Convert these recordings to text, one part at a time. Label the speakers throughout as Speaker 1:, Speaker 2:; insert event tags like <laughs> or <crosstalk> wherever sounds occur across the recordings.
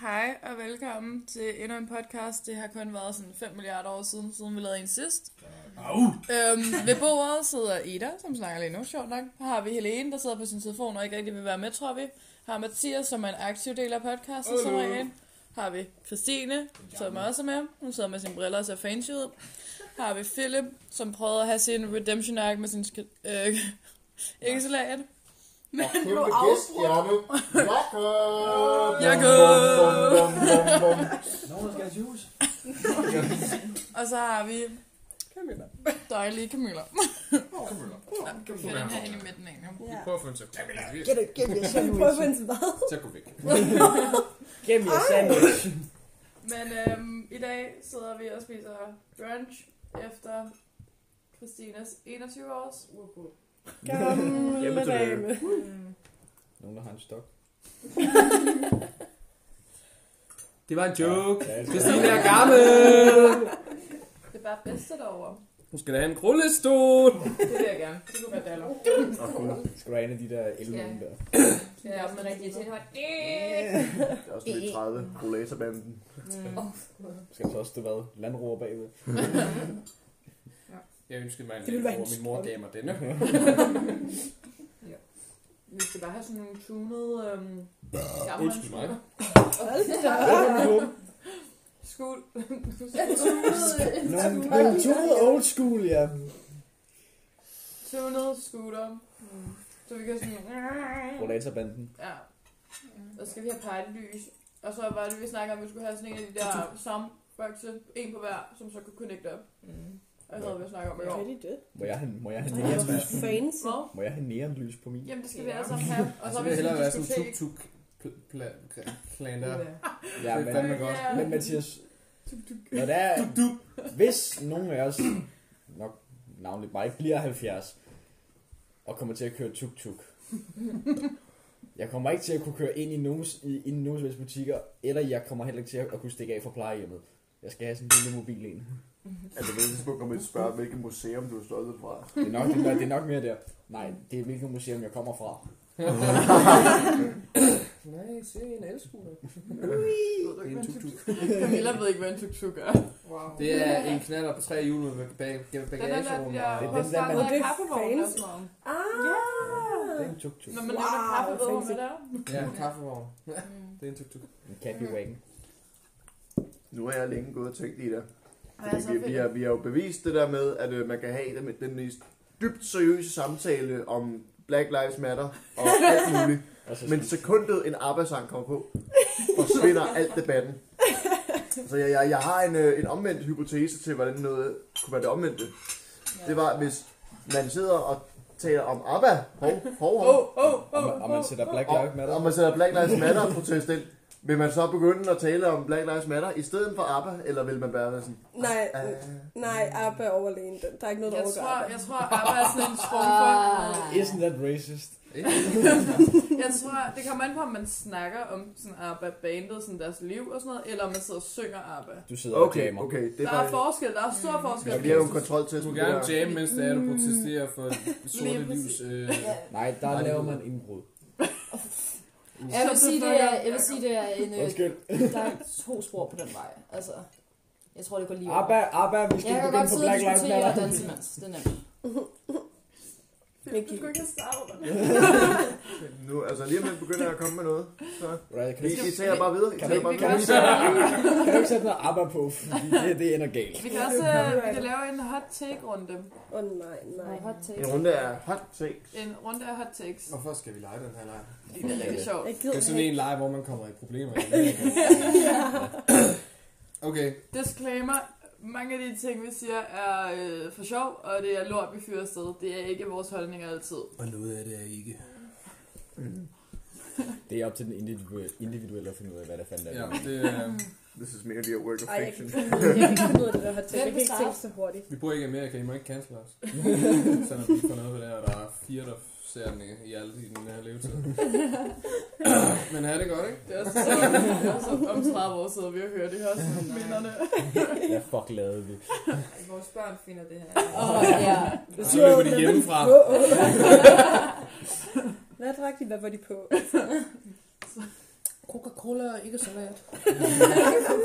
Speaker 1: Hej og velkommen til endnu en podcast. Det har kun været sådan 5 milliarder år siden, siden vi lavede en sidst.
Speaker 2: Au!
Speaker 1: Øhm, ved bordet sidder Ida, som snakker lige nu, sjovt nok. Her har vi Helene, der sidder på sin telefon og ikke rigtig vil være med, tror vi. Har Mathias, som er en aktiv del af podcasten, som
Speaker 2: Hallo.
Speaker 1: regel. Har vi Christine, som også er med. Hun sidder med sine briller og ser fancy ud. Har vi Philip, som prøvede at have sin redemption arc med sin sk- øh, <laughs> æggesalat.
Speaker 2: Men
Speaker 3: Kæmpe gæststjerne. Jakob!
Speaker 4: <laughs>
Speaker 1: Jakob!
Speaker 3: Bum, bum, bum, bum, bum.
Speaker 2: Nogen skal have juice.
Speaker 1: Og så har vi dejlige Camilla. Ja, den her inde i midten egentlig.
Speaker 5: Ja.
Speaker 4: Prøv at få en sekund.
Speaker 5: Get it, get your sandwich. Prøv at finde hvad?
Speaker 4: altså, Så gå væk.
Speaker 2: Gem jer sandwich.
Speaker 1: Men øhm, i dag sidder vi og spiser brunch efter Christinas 21 års.
Speaker 2: Hjemme
Speaker 5: Gamle
Speaker 2: til dame.
Speaker 5: dame.
Speaker 6: Nogen, der har en stok.
Speaker 4: Det var en joke.
Speaker 6: Ja, det
Speaker 4: Christine er gammel.
Speaker 1: Det er bare bedste derovre.
Speaker 4: Hun skal da have en rullestol.
Speaker 1: Det vil jeg gerne. Det kunne være daller.
Speaker 6: Skal du have en af de der 11
Speaker 3: Ja.
Speaker 6: nogen der?
Speaker 1: Det er også en rigtig til.
Speaker 3: Det er også lidt 30. Rollaterbanden.
Speaker 6: Skal du så også stå hvad? Landroer bagved?
Speaker 4: Jeg ønskede mig en
Speaker 5: Det ville være
Speaker 4: lille
Speaker 5: en
Speaker 4: min mor gav mig denne.
Speaker 1: Vi skal bare have sådan nogle tunede... Øhm, ja,
Speaker 4: Undskyld mig.
Speaker 5: Hold da
Speaker 1: Ah!
Speaker 5: op.
Speaker 1: Skål.
Speaker 6: Nogle nogle tunede old school, ja.
Speaker 1: tunede scooter. Så vi kan sådan...
Speaker 6: Rollaterbanden.
Speaker 1: Ja. Og så skal vi have pegelys. Og så var det, vi snakker om, at vi skulle have sådan en af de der soundboxe. En på hver, som så kunne connecte op. Og det havde vi snakket om i går.
Speaker 5: Gør de det?
Speaker 6: Må jeg have, må jeg have,
Speaker 5: Ej,
Speaker 6: neon,
Speaker 5: hvor fancy.
Speaker 1: Hvad?
Speaker 6: må jeg have neonlys på min?
Speaker 1: Jamen, det skal vi alle sammen have. Og
Speaker 4: Og
Speaker 1: så
Speaker 4: så
Speaker 1: har
Speaker 4: vil
Speaker 1: vi
Speaker 4: Altså, jeg
Speaker 1: sådan
Speaker 4: hellere være
Speaker 1: en
Speaker 4: sådan en
Speaker 1: diskotek.
Speaker 4: tuk-tuk-planter.
Speaker 6: Ja,
Speaker 4: Det er
Speaker 6: men,
Speaker 4: fandme godt.
Speaker 1: Ja.
Speaker 6: men Mathias, når der er, hvis nogen af os, nok navnligt mig, bliver 70 og kommer til at køre tuk-tuk, jeg kommer ikke til at kunne køre ind i nogens, i, i nogens helst butikker, eller jeg kommer heller ikke til at, at kunne stikke af fra plejehjemmet. Jeg skal have sådan en lille mobil en.
Speaker 3: Altså, ved du, kommer jeg til at spørge, hvilket museum du er stoltet fra.
Speaker 6: Det er, nok, det, er, det er nok mere der. Nej, det er hvilket museum, jeg kommer fra.
Speaker 4: Nej, se en elskuler. Det er en tuk-tuk.
Speaker 1: Camilla ved ikke, hvad en tuk-tuk er. Wow.
Speaker 4: Det er en knaller på tre hjul med bag- bag-
Speaker 1: den der, der
Speaker 4: bagagerummet.
Speaker 1: bliver
Speaker 6: Det er den,
Speaker 1: hos
Speaker 6: der
Speaker 1: der
Speaker 6: man-
Speaker 1: med
Speaker 5: Det er
Speaker 1: kaffevogn og
Speaker 5: fancy.
Speaker 1: sådan noget.
Speaker 6: Det
Speaker 5: Ah.
Speaker 6: er en tuk-tuk.
Speaker 1: Når man nævner
Speaker 5: Wow,
Speaker 1: kaffe, ved hun,
Speaker 5: fancy.
Speaker 1: hvad det er.
Speaker 4: Ja, en kaffevogn. <laughs> Det er en tuk-tuk.
Speaker 6: En Caddy-wagon.
Speaker 3: Nu har jeg længe gået og tænkt i det.
Speaker 1: Ej,
Speaker 3: Fordi
Speaker 1: så
Speaker 3: vi, vi, har, vi har jo bevist det der med, at øh, man kan have det med den mest dybt seriøse samtale om Black Lives Matter og alt muligt.
Speaker 6: Og så
Speaker 3: Men sekundet en arbejdssang kommer på, forsvinder alt debatten. Så jeg, jeg, jeg har en, øh, en omvendt hypotese til, hvordan noget kunne være det omvendte. Det var, hvis man sidder og taler om ABBA, hov, hov,
Speaker 1: Åh,
Speaker 3: hov,
Speaker 1: åh,
Speaker 6: og,
Speaker 1: åh,
Speaker 6: man, og man sætter Black Lives
Speaker 3: og, og
Speaker 6: Matter.
Speaker 3: man sætter Black Lives Matter-protest ind, vil man så begynde at tale om Black Lives Matter i stedet for ABBA, eller vil man bare være sådan...
Speaker 5: Nej,
Speaker 3: "Ah,
Speaker 5: nej, Abba er overlegen. Den- Der er ikke noget, der
Speaker 1: Jeg tror,
Speaker 5: overgår
Speaker 1: jeg tror, Abba er sådan en trumfer.
Speaker 6: Isn't that racist?
Speaker 1: Jeg tror, det kommer an på, om man snakker om sådan ABBA-bandet, sådan deres liv og sådan noget, eller om man sidder og synger ABBA.
Speaker 6: Du sidder og
Speaker 3: Okay,
Speaker 6: jammer.
Speaker 3: okay, det
Speaker 1: Der
Speaker 3: er
Speaker 1: er
Speaker 3: bare...
Speaker 1: forskel, der er
Speaker 7: Mm.
Speaker 1: stor forskel.
Speaker 3: Der bliver jo en kontroltest
Speaker 4: Du
Speaker 3: på
Speaker 4: må
Speaker 3: det
Speaker 4: gerne
Speaker 3: der.
Speaker 4: jamme, mens det er, du protesterer for sorte
Speaker 1: Mm. Lige
Speaker 4: livs...
Speaker 1: præcis.
Speaker 4: Øh,
Speaker 6: Nej, der
Speaker 4: Nej,
Speaker 6: laver
Speaker 4: det-
Speaker 6: man indbrud.
Speaker 7: Jeg vil, sige, det er, jeg vil sige, det er en, øh,
Speaker 6: Undskyld.
Speaker 7: der er to spor på den vej. Altså, jeg tror, det går lige over.
Speaker 6: Abba, Abba, vi skal
Speaker 7: jeg kan
Speaker 6: begynde
Speaker 7: godt
Speaker 6: på
Speaker 7: sidde og
Speaker 6: Black Lives
Speaker 7: diskutere og
Speaker 6: Matter.
Speaker 7: danse imens. Det er nemt.
Speaker 1: Det kan ikke have
Speaker 3: Nu, altså lige om lidt begynder jeg at komme med noget, så...
Speaker 6: Right, kan,
Speaker 3: I,
Speaker 6: du,
Speaker 3: I tager bare videre, I
Speaker 6: Kan
Speaker 3: tager
Speaker 6: vi-
Speaker 3: bare
Speaker 1: vi kan
Speaker 3: videre.
Speaker 1: også-
Speaker 6: kan du ikke sætte noget Abba på, fordi det, det ender galt.
Speaker 1: Vi kan også øh, vi kan lave en hot take-runde.
Speaker 5: Åh oh, nej, nej.
Speaker 7: Nej, hot take.
Speaker 3: En runde af hot takes.
Speaker 1: En runde af hot takes.
Speaker 4: Hvorfor skal vi lege den her leg?
Speaker 1: Det er rigtig sjovt.
Speaker 5: Jeg
Speaker 4: Det
Speaker 5: gider
Speaker 4: er sådan
Speaker 5: ikke.
Speaker 4: en leg, hvor man kommer i problemer.
Speaker 1: <laughs>
Speaker 4: Okay,
Speaker 1: Disclaimer. Mange af de ting, vi siger, er øh, for sjov, og det er lort, vi fyrer afsted. Det er ikke vores holdninger altid.
Speaker 4: og noget af det er ikke.
Speaker 6: Det er op til den individuelle, individuelle at finde ud af, hvad der fanden er.
Speaker 4: Ja,
Speaker 6: Ja.
Speaker 4: det, øh,
Speaker 1: Mm.
Speaker 3: This is merely a work of
Speaker 5: Ej, jeg kan
Speaker 3: fiction.
Speaker 5: ikke finde ud af- jeg kan ikke finde ud af det der hot take.
Speaker 7: Hvem
Speaker 5: Jeg kan ikke
Speaker 7: starter?
Speaker 5: tænke så hurtigt.
Speaker 4: vi bor ikke i Amerika, I må ikke cancel
Speaker 1: <laughs>
Speaker 4: os. Selvom vi får noget ved det her, og der er fire, der ser den i alt i den her
Speaker 1: <laughs>
Speaker 4: levetid. Men er det godt, ikke?
Speaker 1: Det er også så, det er også om 30 år siden, vi har hørt det her, sådan minderne.
Speaker 6: Hvad fuck lavede vi?
Speaker 8: Altså, Vores børn finder det her.
Speaker 7: Åh, <laughs> ja.
Speaker 4: Så løber de hjemmefra.
Speaker 5: Hvad drak de? Hvad var de på?
Speaker 1: Coca-Cola og ikke salat.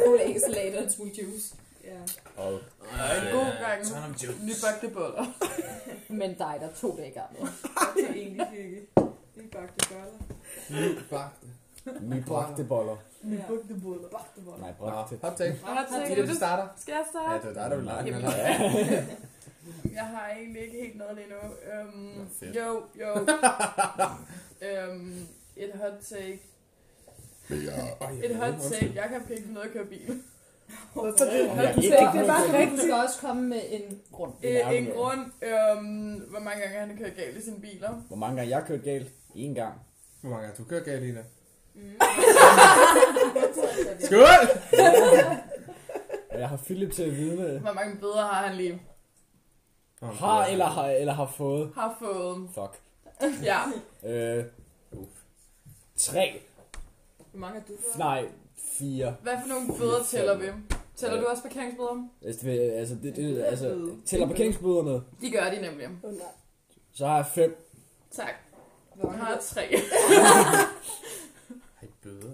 Speaker 7: Cola, ikke salat og en smule juice.
Speaker 8: Ja.
Speaker 6: Og
Speaker 1: Og en god gang
Speaker 4: Turn up juice.
Speaker 1: nybagte boller.
Speaker 7: <laughs> Men dig, der er to dage gammel.
Speaker 8: Det er egentlig hygge. Vi bagte boller.
Speaker 4: Bagte.
Speaker 6: nye bragte boller.
Speaker 8: Ja.
Speaker 1: Nybagte boller.
Speaker 8: Bagte boller.
Speaker 6: Nej, bragte.
Speaker 4: Nå, Hot take.
Speaker 1: Hot take.
Speaker 4: Det er det, der starter.
Speaker 1: Skal jeg
Speaker 4: Ah. Ja,
Speaker 1: starte?
Speaker 4: det er dig, der vil lege. den,
Speaker 1: Jamen.
Speaker 4: eller?
Speaker 1: Jeg har egentlig ikke helt noget lige nu. Øhm,
Speaker 4: Nå, fedt.
Speaker 1: jo,
Speaker 4: <laughs>
Speaker 1: jo. øhm, et hot take.
Speaker 4: Ej, jeg
Speaker 1: Et
Speaker 4: ved
Speaker 1: hot
Speaker 4: ikke, undskyld.
Speaker 1: take. Jeg kan ikke finde ud af at køre bil.
Speaker 5: Hvorfor det?
Speaker 6: Jeg
Speaker 5: Hold
Speaker 6: ikke
Speaker 5: kæft,
Speaker 6: har
Speaker 5: Det
Speaker 6: noget
Speaker 5: var
Speaker 6: til.
Speaker 7: Du
Speaker 5: rigtigt.
Speaker 7: skal også komme med en grund.
Speaker 6: Det er
Speaker 1: Øh, en
Speaker 6: nærmere.
Speaker 1: grund, øhm, hvor mange gange han har kørt galt i sine <laughs> biler.
Speaker 6: Hvor mange gange jeg har kørt galt? En gang.
Speaker 4: Hvor mange gange har du kørt galt, Lina?
Speaker 8: Mm.
Speaker 4: Skål!
Speaker 6: Og jeg har Philip til at vidne.
Speaker 1: Hvor mange bøder har han lige
Speaker 6: Har eller har, eller har fået.
Speaker 1: har fået?
Speaker 6: Fuck.
Speaker 1: Ja.
Speaker 6: Øh, tre.
Speaker 8: Hvor mange har du fået?
Speaker 6: Nej, fire.
Speaker 1: Hvad for nogle bøder tæller vi? Tæller
Speaker 6: Øh.
Speaker 1: du også parkeringsbøder?
Speaker 6: Altså, det, altså, det, det, altså
Speaker 8: bøde.
Speaker 6: tæller parkeringsbøderne,
Speaker 1: De gør de nemlig.
Speaker 5: Åh, nej.
Speaker 6: så har jeg fem.
Speaker 1: Tak.
Speaker 7: Hvor
Speaker 1: Jeg
Speaker 7: mange
Speaker 1: har tre.
Speaker 4: Ej, bøder.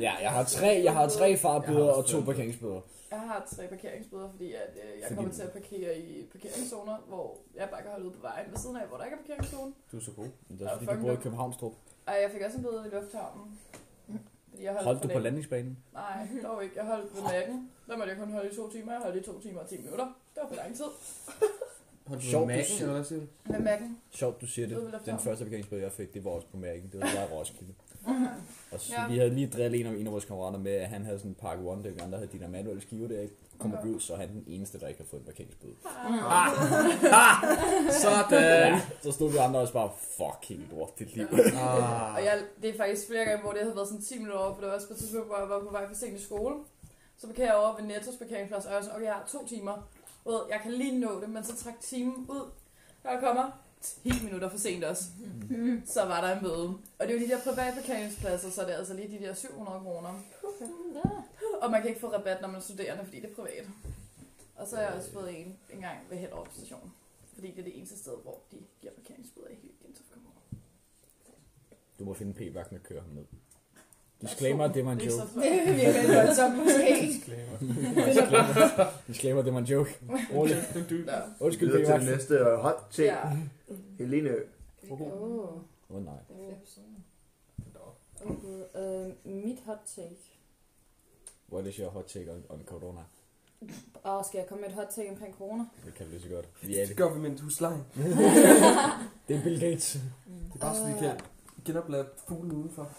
Speaker 6: Ja, jeg har tre, jeg har tre
Speaker 4: Jeg har
Speaker 6: farbøder
Speaker 4: også
Speaker 6: og to
Speaker 4: fem.
Speaker 6: parkeringsbøder.
Speaker 1: Jeg har tre parkeringsbøder, fordi at, øh, jeg
Speaker 6: Fordi-
Speaker 1: kommer til at parkere i parkeringszoner, hvor jeg bare kan holde ud på vejen ved siden af, hvor der ikke er parkeringszone.
Speaker 4: Du er så god.
Speaker 6: Men Det er
Speaker 1: Ja,
Speaker 6: fordi,
Speaker 1: fuck
Speaker 6: du bor i
Speaker 1: det.
Speaker 6: Københavnstrup.
Speaker 1: Og jeg fik også en bøde i lufthavnen. Fordi jeg holdt,
Speaker 6: Holdt
Speaker 1: for
Speaker 6: du på
Speaker 1: længe.
Speaker 6: landingsbanen?
Speaker 1: Nej, dog ikke. Jeg holdt på natten. Der måtte jeg kun holde i to timer. Jeg holdt i to timer og ti minutter. Det var for lang tid.
Speaker 4: Har du
Speaker 6: Sjovt,
Speaker 4: Sjovt,
Speaker 6: du
Speaker 4: Mac'en,
Speaker 6: siger.
Speaker 4: eller hvad siger du?
Speaker 1: Med Mac'en.
Speaker 6: Sjovt, du siger
Speaker 1: Ude ved
Speaker 6: det. Den
Speaker 1: lufthavnen.
Speaker 6: første parkeringsbøde, jeg fik, det var også på mærken. Det var bare Roskilde. Og så,
Speaker 1: Ja.
Speaker 6: vi havde lige drillet en af, en af vores kammerater med, at han havde sådan en Park One, det var den, der havde Dina Manuel skive der, ikke? Kommer vi ud, så er han den eneste, der ikke har fået en parkeringsbøde.
Speaker 4: Ah, ah, sådan.
Speaker 6: Ja, så stod vi andre også bare, fucking lort, dit liv.
Speaker 4: Ah,
Speaker 1: Og jeg, det er faktisk flere gange, hvor det havde været sådan 10 minutter over, for det var også på et tidspunkt, hvor jeg var på vej for sent i skole. Så parkerer jeg over ved Nettos parkeringsplads, og jeg er sådan, okay, jeg har to timer. Du ved, jeg kan lige nå det, men så træk timen ud. Der kommer 10 minutter for sent også. Så var der en møde. Og det er jo de der private parkeringspladser, så er det altså lige de der 700 kroner. Og man kan ikke få rabat, når man er studerende, fordi det er privat. Og så har jeg også fået en engang ved Hellerup station. Fordi det er det eneste sted, hvor de giver parkeringsbøder i hele Gentofte Kommune.
Speaker 6: Du må finde p-vagten og køre ham ned. Disclaimer, det var en
Speaker 1: Det er
Speaker 6: joke.
Speaker 1: så <laughs> flot.
Speaker 7: Det er virkelig
Speaker 6: <laughs>
Speaker 7: voldsomt måske.
Speaker 4: disclaimer.
Speaker 6: Disclaimer, det var en joke. Rolig.
Speaker 1: Nå.
Speaker 6: Undskyld,
Speaker 3: Videre til den
Speaker 6: p-vagten.
Speaker 3: næste øh, hot take.
Speaker 1: Ja.
Speaker 3: Helene,
Speaker 7: Åh.
Speaker 6: Åh oh, nej.
Speaker 7: Okay, øh, mit hot take.
Speaker 6: What is your hot take on, on corona?
Speaker 7: Og skal jeg komme med et hot take omkring corona?
Speaker 6: <laughs> Det kan vi lige så godt. Vi er det.
Speaker 2: Government husleje.
Speaker 6: <laughs> Det er Bill Gates.
Speaker 2: Det er bare så, vi kan genoplade fuglen udenfor.
Speaker 1: <laughs>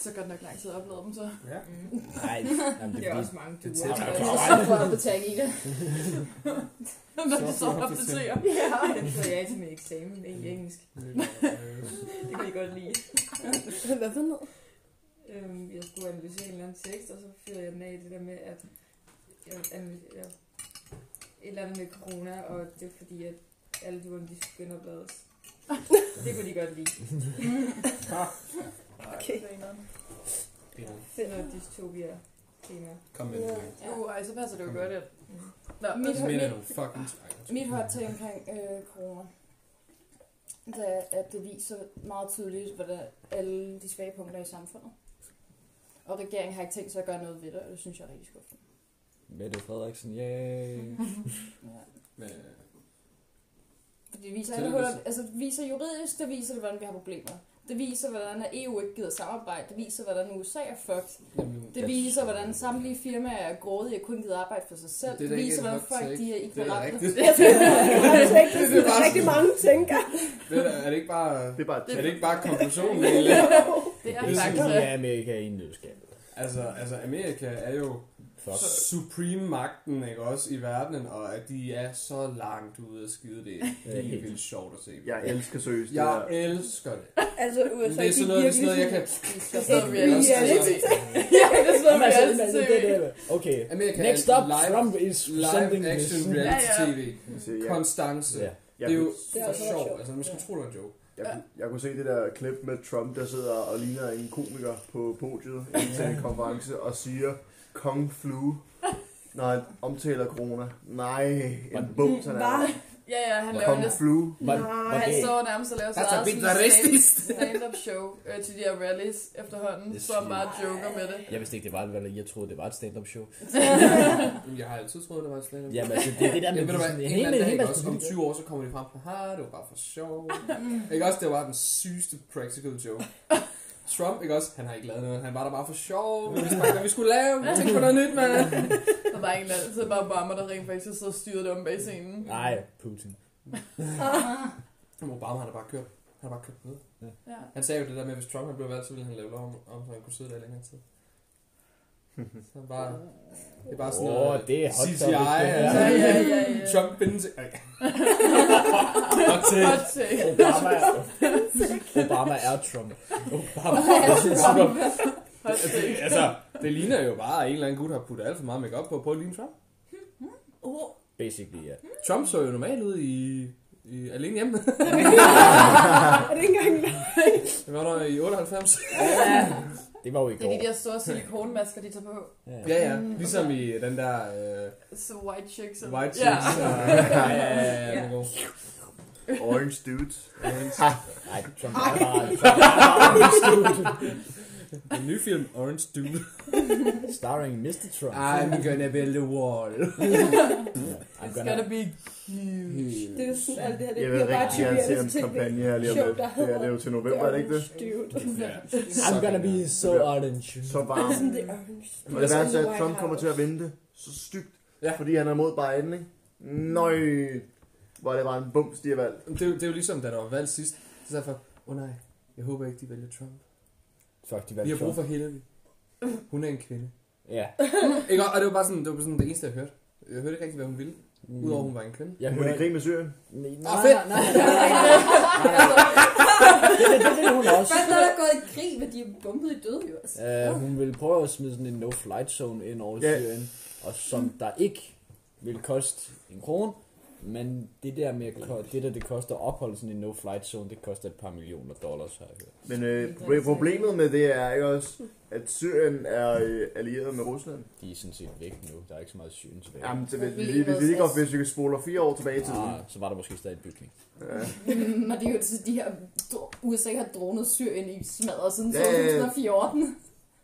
Speaker 1: Så godt nok lang tid at opleve dem, så.
Speaker 4: Ja.
Speaker 6: Nej, jamen, det
Speaker 8: Det er
Speaker 6: er fordi...
Speaker 8: også mange
Speaker 4: Det
Speaker 8: duer.
Speaker 4: er
Speaker 7: Jeg
Speaker 4: tæt.
Speaker 7: er så for at betale i det.
Speaker 1: Når de så
Speaker 4: Så flot, det
Speaker 1: opdaterer.
Speaker 8: Ja, den sagde jeg til min eksamen i engelsk. Det kunne jeg godt lide.
Speaker 5: <laughs> Hvad for noget?
Speaker 8: Øhm, jeg skulle analysere en eller anden tekst, og så fyrede jeg den af i det der med, at jeg analyserer et eller andet med corona, og det er fordi, at alle duerne, de skulle
Speaker 5: <laughs>
Speaker 8: genoplades. Det kunne de godt lide.
Speaker 1: <laughs>
Speaker 5: Okay.
Speaker 8: Sådan noget dystopia tema.
Speaker 4: Kom med den. Lina.
Speaker 1: Jo, Uh, ej, så passer det jo godt ind.
Speaker 8: Mm.
Speaker 1: Nå,
Speaker 7: Mit
Speaker 4: Så
Speaker 7: hot-
Speaker 4: mener
Speaker 7: mit-
Speaker 4: du fucking Ej, undskyld.
Speaker 7: Mit hot take omkring øh, corona, det er, at det viser meget tydeligt, hvordan alle de svage punkter i samfundet. Og regeringen har ikke tænkt sig at gøre noget ved det, og det synes jeg er rigtig skuffende.
Speaker 6: Mette Frederiksen, yay.
Speaker 7: Ja.
Speaker 4: Men,
Speaker 7: For det viser,
Speaker 4: Så det
Speaker 7: alle
Speaker 4: er
Speaker 7: huller,
Speaker 4: lidt-
Speaker 7: altså, det viser juridisk, det viser, hvordan vi har problemer. Det viser, hvordan at EU ikke gider samarbejde. Det viser, hvordan USA er fucked.
Speaker 4: jamen,
Speaker 7: Det viser, hvordan samtlige firmaer er grådige og kun gider arbejde for sig selv.
Speaker 4: Det er
Speaker 7: Det,
Speaker 4: da ikke
Speaker 7: viser,
Speaker 4: et
Speaker 7: hvordan
Speaker 4: hot
Speaker 7: folk
Speaker 4: take.
Speaker 7: de er
Speaker 4: Det er da
Speaker 7: ignorante. <laughs>
Speaker 4: rigtigt.
Speaker 5: Jeg
Speaker 4: <laughs>
Speaker 5: tror, det er sådan, at rigtig mange tænker.
Speaker 4: Ved du, er det ikke bare...
Speaker 3: det er bare et
Speaker 4: Er
Speaker 3: tip.
Speaker 4: det ikke bare
Speaker 1: <laughs>
Speaker 4: konklusionen, Lina?
Speaker 7: <laughs>
Speaker 1: det er
Speaker 6: Det er
Speaker 1: faktisk
Speaker 6: sådan,
Speaker 1: det.
Speaker 6: at Amerika er i en nødskab.
Speaker 4: Altså, altså, Amerika er jo
Speaker 6: Fuck.
Speaker 4: supreme-magten, ikke også, i verden, og at de er så langt ude af skide, det er helt vildt sjovt at se.
Speaker 3: Jeg elsker seriøst det
Speaker 4: Jeg
Speaker 3: der.
Speaker 4: elsker det.
Speaker 5: Altså,
Speaker 4: Men
Speaker 5: USA,
Speaker 4: det er sådan noget, det er sådan noget jeg kan...
Speaker 1: Det er sådan, vi er
Speaker 5: Ja,
Speaker 1: også.
Speaker 5: det er
Speaker 4: Altså,
Speaker 7: <laughs>
Speaker 1: Ja, det er sådan, vi er
Speaker 6: men
Speaker 1: også.
Speaker 6: altså, det er det. Okay.
Speaker 4: Amerika
Speaker 6: Next
Speaker 4: er
Speaker 6: up,
Speaker 4: live,
Speaker 6: Trump is sending
Speaker 4: live
Speaker 6: this.
Speaker 4: action reality
Speaker 1: Ja, ja.
Speaker 4: tv.
Speaker 3: Altså, jeg,
Speaker 4: Konstance.
Speaker 6: Ja.
Speaker 3: jeg,
Speaker 4: Det er jo
Speaker 5: Det er
Speaker 4: for
Speaker 5: også
Speaker 4: sjovt.
Speaker 5: sjovt.
Speaker 4: Altså, man skulle tro, det var en joke.
Speaker 3: Jeg, kunne- jeg kunne se det der klip med Trump, der sidder og ligner en komiker på podiet inden til en konference og siger Kong Flu, når han omtaler corona. Nej, en bums han
Speaker 5: Var
Speaker 3: er.
Speaker 1: Ja, ja, han laver
Speaker 3: Kung
Speaker 1: næsten...
Speaker 3: Flu.
Speaker 6: Var, var
Speaker 1: Han
Speaker 6: det,
Speaker 1: står nærmest og laver sit
Speaker 4: Altså,
Speaker 2: That's a
Speaker 1: eget
Speaker 2: bit
Speaker 1: sådan
Speaker 2: racist.
Speaker 1: stand- stand-up show øh, til de her rallies efterhånden,
Speaker 6: Det
Speaker 1: så han
Speaker 6: siger-
Speaker 1: bare joker med det.
Speaker 6: jeg vidste ikke, det var en rally. Jeg troede, det var et stand-up show.
Speaker 4: Mm. Jamen, jeg har altid troet, det var et stand-up.
Speaker 6: Jamen, altså, det er det der
Speaker 4: Jamen, ved
Speaker 6: med...
Speaker 4: du
Speaker 6: de
Speaker 4: hvad,
Speaker 6: sådan-
Speaker 4: en eller anden dag, ikke også, om
Speaker 6: politikere.
Speaker 4: 20 år, så kommer de frem på, ha, det var bare for sjov. <laughs> ikke også, det var den sygeste practical joke. Trump, ikke også, han har ikke lavet noget, han var der bare for sjov. Vi vidste bare ikke, hvad vi skulle lave, tænk på noget nyt, mand.
Speaker 1: Der var en eller anden, så bare bomber, der rent faktisk sidder og styrer det om bag scenen.
Speaker 6: Nej, Putin.
Speaker 4: Jamen, Obama, han har bare kørt, han har bare kørt ned.
Speaker 1: Ja.
Speaker 4: Han sagde jo det der med, at hvis Trump han blev valgt, så ville han lave lov om, om så han kunne sidde der i længere tid. Så han bare, det er bare sådan
Speaker 6: Åh,
Speaker 4: noget
Speaker 6: det er hot topic,
Speaker 4: CGI.
Speaker 6: det her.
Speaker 1: Ja, ja, ja, ja.
Speaker 4: altså. Trump bindes... Ej,
Speaker 1: Hot take. Hot
Speaker 7: <laughs>
Speaker 1: take.
Speaker 6: Obama,
Speaker 4: <laughs>
Speaker 6: Obama er Trump. Obama er Trump.
Speaker 1: Hot take.
Speaker 4: altså, det ligner jo bare, at en eller anden gut har puttet alt for meget makeup på, på at ligne Trump.
Speaker 6: Basically, ja.
Speaker 4: Trump så jo normalt ud i, i alene hjemme.
Speaker 5: Er det
Speaker 4: <laughs>
Speaker 5: ikke engang
Speaker 4: Det var der i 98.
Speaker 1: Ja.
Speaker 6: Det var jo i
Speaker 1: Det er
Speaker 6: går.
Speaker 1: de der store silikonmasker, de tager på.
Speaker 4: Ja, ja. Ligesom i den der øh,
Speaker 1: Så white chicks. og-
Speaker 4: White
Speaker 1: Ja.
Speaker 4: Chicks. og- Ja, ja, ja, ja. den er god.
Speaker 3: Orange Dude.
Speaker 6: Nej, Trump er bare... Trump er bare-
Speaker 4: Den nye film, Orange Dude.
Speaker 6: Starring Mr. Trump.
Speaker 4: gonna build a wall.
Speaker 6: I'm
Speaker 1: It's
Speaker 6: gonna...
Speaker 1: gonna be huge.
Speaker 5: Det er jo sådan, alt det her, det
Speaker 3: Jeg vil
Speaker 5: bliver bare
Speaker 3: rigtig gerne se hans
Speaker 5: tv-show,
Speaker 3: kampagne her lige om lidt.
Speaker 5: der
Speaker 3: Det er det
Speaker 5: hedder
Speaker 3: er jo til november, er det ikke det?
Speaker 5: Dude.
Speaker 6: I'm gonna be so orange.
Speaker 3: Så varmt.
Speaker 5: Sådan det orange.
Speaker 3: Og det værste er, at Trump kommer til at vente så stygt,
Speaker 4: Ja.
Speaker 3: ja. fordi han er mod Biden, ikke? Nøj, hvor er det bare en bums, de har valgt.
Speaker 4: Det, er jo- det er jo ligesom, da der var valg sidst. Så sagde jeg for, åh oh, nej, jeg håber ikke, de vælger Trump.
Speaker 6: Fuck, de
Speaker 4: Vi
Speaker 6: valgte
Speaker 4: har brug
Speaker 6: Trump.
Speaker 4: for Hillary. Hun er en kvinde.
Speaker 6: Ja.
Speaker 4: Ikke? Og det var bare sådan, det, var sådan det eneste, jeg hørte. Jeg hørte ikke rigtig, hvad hun ville, udover at hun var en kvinde.
Speaker 6: Jeg
Speaker 3: Hun er i
Speaker 6: hører...
Speaker 3: krig med Syrien.
Speaker 6: Nej,
Speaker 4: Åh,
Speaker 6: nej,
Speaker 4: Ah, fedt.
Speaker 6: nej, nej, nej. Det vil hun også.
Speaker 7: Først er der gået i krig, men de er bumpet i død jo. Altså.
Speaker 6: Uh, hun ville prøve at smide sådan en no-flight zone ind over
Speaker 3: Ja.
Speaker 6: Syrien, og som der ikke ville koste en krone, men det der med, at ko- det der det koster at opholde sådan en no-flight zone, det koster et par millioner dollars, har jeg hørt.
Speaker 3: Men øh, pro- problemet med det er ikke også, at Syrien er øh, allieret med Rusland.
Speaker 6: De er sådan set væk nu, der er ikke så meget syn tilbage.
Speaker 3: Jamen, det, hvis, vi- hvis, vi lige går, hvis vi spoler fire år tilbage i tiden.
Speaker 6: Ah, så var der måske stadig en bygning.
Speaker 3: Ja.
Speaker 7: Mm, og det er jo til de her dro- USA har dronet Syrien i smadret siden
Speaker 3: Ja, ja, ja.
Speaker 7: 2014.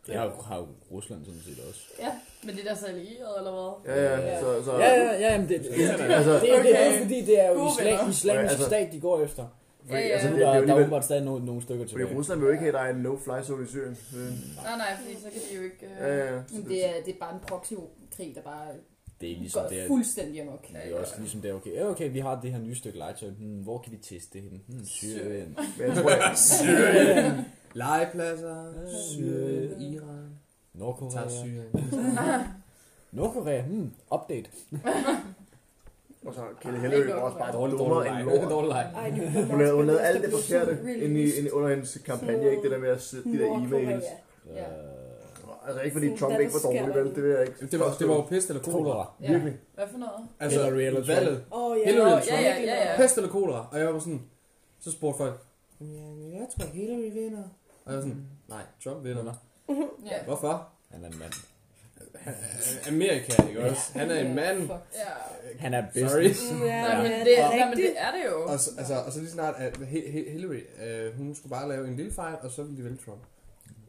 Speaker 6: Det har, jo- har jo Rusland sådan set også.
Speaker 7: Ja.
Speaker 1: Men det er der så allieret, eller hvad?
Speaker 3: Ja, ja, så, så,
Speaker 6: Ja, ja, ja, jamen det, det, det, det,
Speaker 3: altså,
Speaker 6: det, det er
Speaker 1: Okay.
Speaker 6: jo fordi, det er jo
Speaker 1: Gode
Speaker 6: islam,
Speaker 1: venner.
Speaker 6: islamisk
Speaker 3: Altså-
Speaker 6: stat, de går efter.
Speaker 1: Ja, ja.
Speaker 6: Altså nu
Speaker 3: det-
Speaker 6: er
Speaker 3: det er jo
Speaker 6: der, der er
Speaker 3: alligevel-
Speaker 6: åbenbart stadig nogle, nogle stykker
Speaker 3: fordi
Speaker 6: tilbage.
Speaker 3: Rusland vil jo ikke have, at der er en no-fly zone i Syrien. Øh,
Speaker 1: Nej, nej, fordi så kan de jo ikke... Øh...
Speaker 3: Ja, ja.
Speaker 7: Men det er, det er bare en proxykrig, der bare
Speaker 6: Det er ligesom
Speaker 7: går
Speaker 6: det,
Speaker 7: fuldstændig amok.
Speaker 6: Det er også ligesom det, okay, ja, okay, vi har det her nye stykke legetøj, hmm, hvor kan vi teste det henne? Hmm, Syrien.
Speaker 3: Men jeg tror, jeg,
Speaker 4: Syrien. Legepladser. Syrien. Iran. Tager
Speaker 6: Nordkorea.
Speaker 4: Syrien.
Speaker 6: Nordkorea, hmm, update.
Speaker 3: og så Kjelle Helleø var også bare
Speaker 4: Dårlig,
Speaker 3: dårlig, dårlig,
Speaker 4: dårlig leg.
Speaker 3: dårlig,
Speaker 4: Dårlig leg.
Speaker 5: Ej, det
Speaker 3: Hun lavede, hun lavede alt det forkerte inde i, inde under hendes kampagne, ikke? Det der med at sætte de der e-mails.
Speaker 7: Ja.
Speaker 6: Øh,
Speaker 3: Altså ikke fordi Trump ikke var dårlig, vel? Det vil jeg ikke.
Speaker 4: Det var, det var jo pest eller kolera.
Speaker 6: kolera.
Speaker 7: Ja.
Speaker 3: Virkelig.
Speaker 1: Hvad for noget?
Speaker 4: Altså,
Speaker 6: Hillary eller Trump.
Speaker 4: valget.
Speaker 5: Åh, ja.
Speaker 4: Hillary eller
Speaker 1: Ja,
Speaker 4: Trump.
Speaker 1: ja, ja, ja.
Speaker 4: Pest eller kolera. Og jeg var sådan, så spurgte folk, "Jamen, jeg tror Hillary vinder. Og jeg var sådan, nej, Trump vinder.
Speaker 1: Ja.
Speaker 4: Hvorfor?
Speaker 6: Han er en mand.
Speaker 4: Amerika, ikke også? Han er en mand.
Speaker 7: Fuck.
Speaker 1: Ja.
Speaker 6: Han er
Speaker 4: Sorry.
Speaker 6: business.
Speaker 5: Ja,
Speaker 1: Nej, men
Speaker 5: ja,
Speaker 1: det,
Speaker 5: det er
Speaker 1: nej, men det
Speaker 5: rigtigt.
Speaker 1: er det jo.
Speaker 4: Og så, altså, og så lige snart, at Hi- Hi- Hillary, øh, hun skulle bare lave en lille fejl, og så ville de vælge Trump.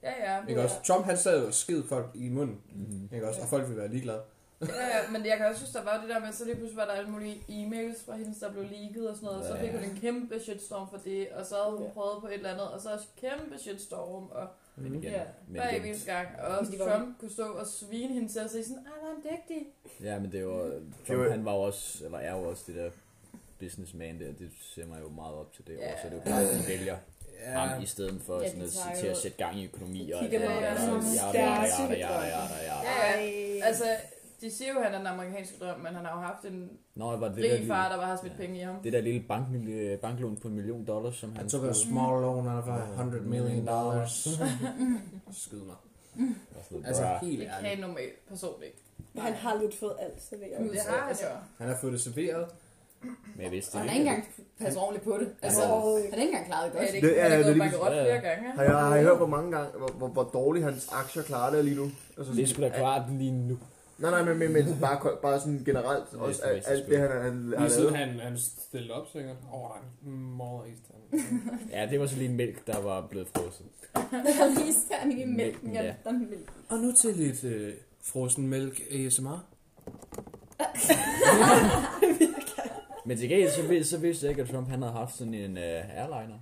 Speaker 1: Ja, ja.
Speaker 4: Ikke også? Trump, han sad jo og sked folk i munden.
Speaker 6: Mhm.
Speaker 4: Ikke også? Og folk ville være ligeglade.
Speaker 1: Ja, ja, men jeg kan også synes, der var jo det der med, så lige pludselig var der alle mulige e-mails fra hende, der blev leaget og sådan noget, og så
Speaker 6: Ja.
Speaker 1: fik hun en kæmpe shitstorm for det, og så havde hun
Speaker 5: Ja.
Speaker 1: prøvet på et eller andet, og så også kæmpe shitstorm, og
Speaker 6: Men igen.
Speaker 1: ja,
Speaker 6: Men
Speaker 1: hver
Speaker 6: igen.
Speaker 1: eneste gang, og
Speaker 7: De var-
Speaker 1: Trump kunne stå og svine hende til og sige sådan, ah, hvor er han dygtig.
Speaker 6: Ja, men det var,
Speaker 4: Mm.
Speaker 6: Trump, han var jo også, eller er jo også det der businessman der, det ser man jo meget op til det
Speaker 1: Ja.
Speaker 6: år, så det er jo klart, at de vælger ham i
Speaker 4: Ja,
Speaker 6: stedet for
Speaker 7: Ja,
Speaker 6: sådan
Speaker 7: de
Speaker 6: noget,
Speaker 7: tager
Speaker 6: til
Speaker 7: jo-
Speaker 6: at sætte gang i økonomi og alt
Speaker 5: Kigger
Speaker 6: det
Speaker 1: på
Speaker 6: der,
Speaker 1: deres
Speaker 6: og
Speaker 5: stærke
Speaker 6: jada, jada, jada, jada,
Speaker 1: Ja,
Speaker 6: jada.
Speaker 1: ja.
Speaker 5: Ej.
Speaker 1: Altså, de siger jo, at han er den amerikanske drøm, men han har jo haft en
Speaker 6: Nå, var det der,
Speaker 1: rig
Speaker 6: lille-
Speaker 1: far, der bare har smidt
Speaker 6: Ja.
Speaker 1: penge i ham.
Speaker 6: det der lille bank, øh, banklån på en million dollars, som han
Speaker 4: han tog a small loan of 100 million dollars. Skyd mig. Altså, helt
Speaker 1: Det kan en
Speaker 4: ærligt.
Speaker 1: normal person ikke.
Speaker 5: Han har lidt fået alt serveret.
Speaker 1: Det har han
Speaker 7: altså.
Speaker 1: jo.
Speaker 4: Han har fået det serveret.
Speaker 6: Men jeg vidste
Speaker 7: Og han
Speaker 6: det
Speaker 7: har ikke engang passet ordentligt på det. Altså,
Speaker 5: Åh,
Speaker 7: han har ikke engang klaret det
Speaker 1: Er
Speaker 7: godt.
Speaker 1: det ikke,
Speaker 3: Det- ja,
Speaker 1: han er
Speaker 3: ja, det er
Speaker 1: gået
Speaker 3: lige
Speaker 1: bankerot
Speaker 6: præcis-
Speaker 1: flere gange?
Speaker 3: Har jeg, har jeg hørt, hvor mange gange, hvor, hvor, hvor dårligt hans aktier klarer det lige nu? Altså,
Speaker 6: Det er sgu da klart lige nu.
Speaker 3: Nej, nej, men, men, men bare, ko- bare sådan generelt,
Speaker 6: Det er
Speaker 3: også
Speaker 6: et
Speaker 3: alt, alt det, han, han har
Speaker 4: Lige siden
Speaker 3: lavet.
Speaker 4: han, han stillede op, sikkert. Åh, oh, der er en meget is.
Speaker 6: Ja, det var så lige en mælk, der var blevet frosset.
Speaker 7: Jeg viste her i mælken, jeg
Speaker 6: Ja.
Speaker 7: lugter mælk.
Speaker 4: Og nu til lidt øh, frossen mælk ASMR.
Speaker 6: Men til gengæld, så, vid- så vidste jeg ikke, at Trump han havde haft sådan en uh, airliner.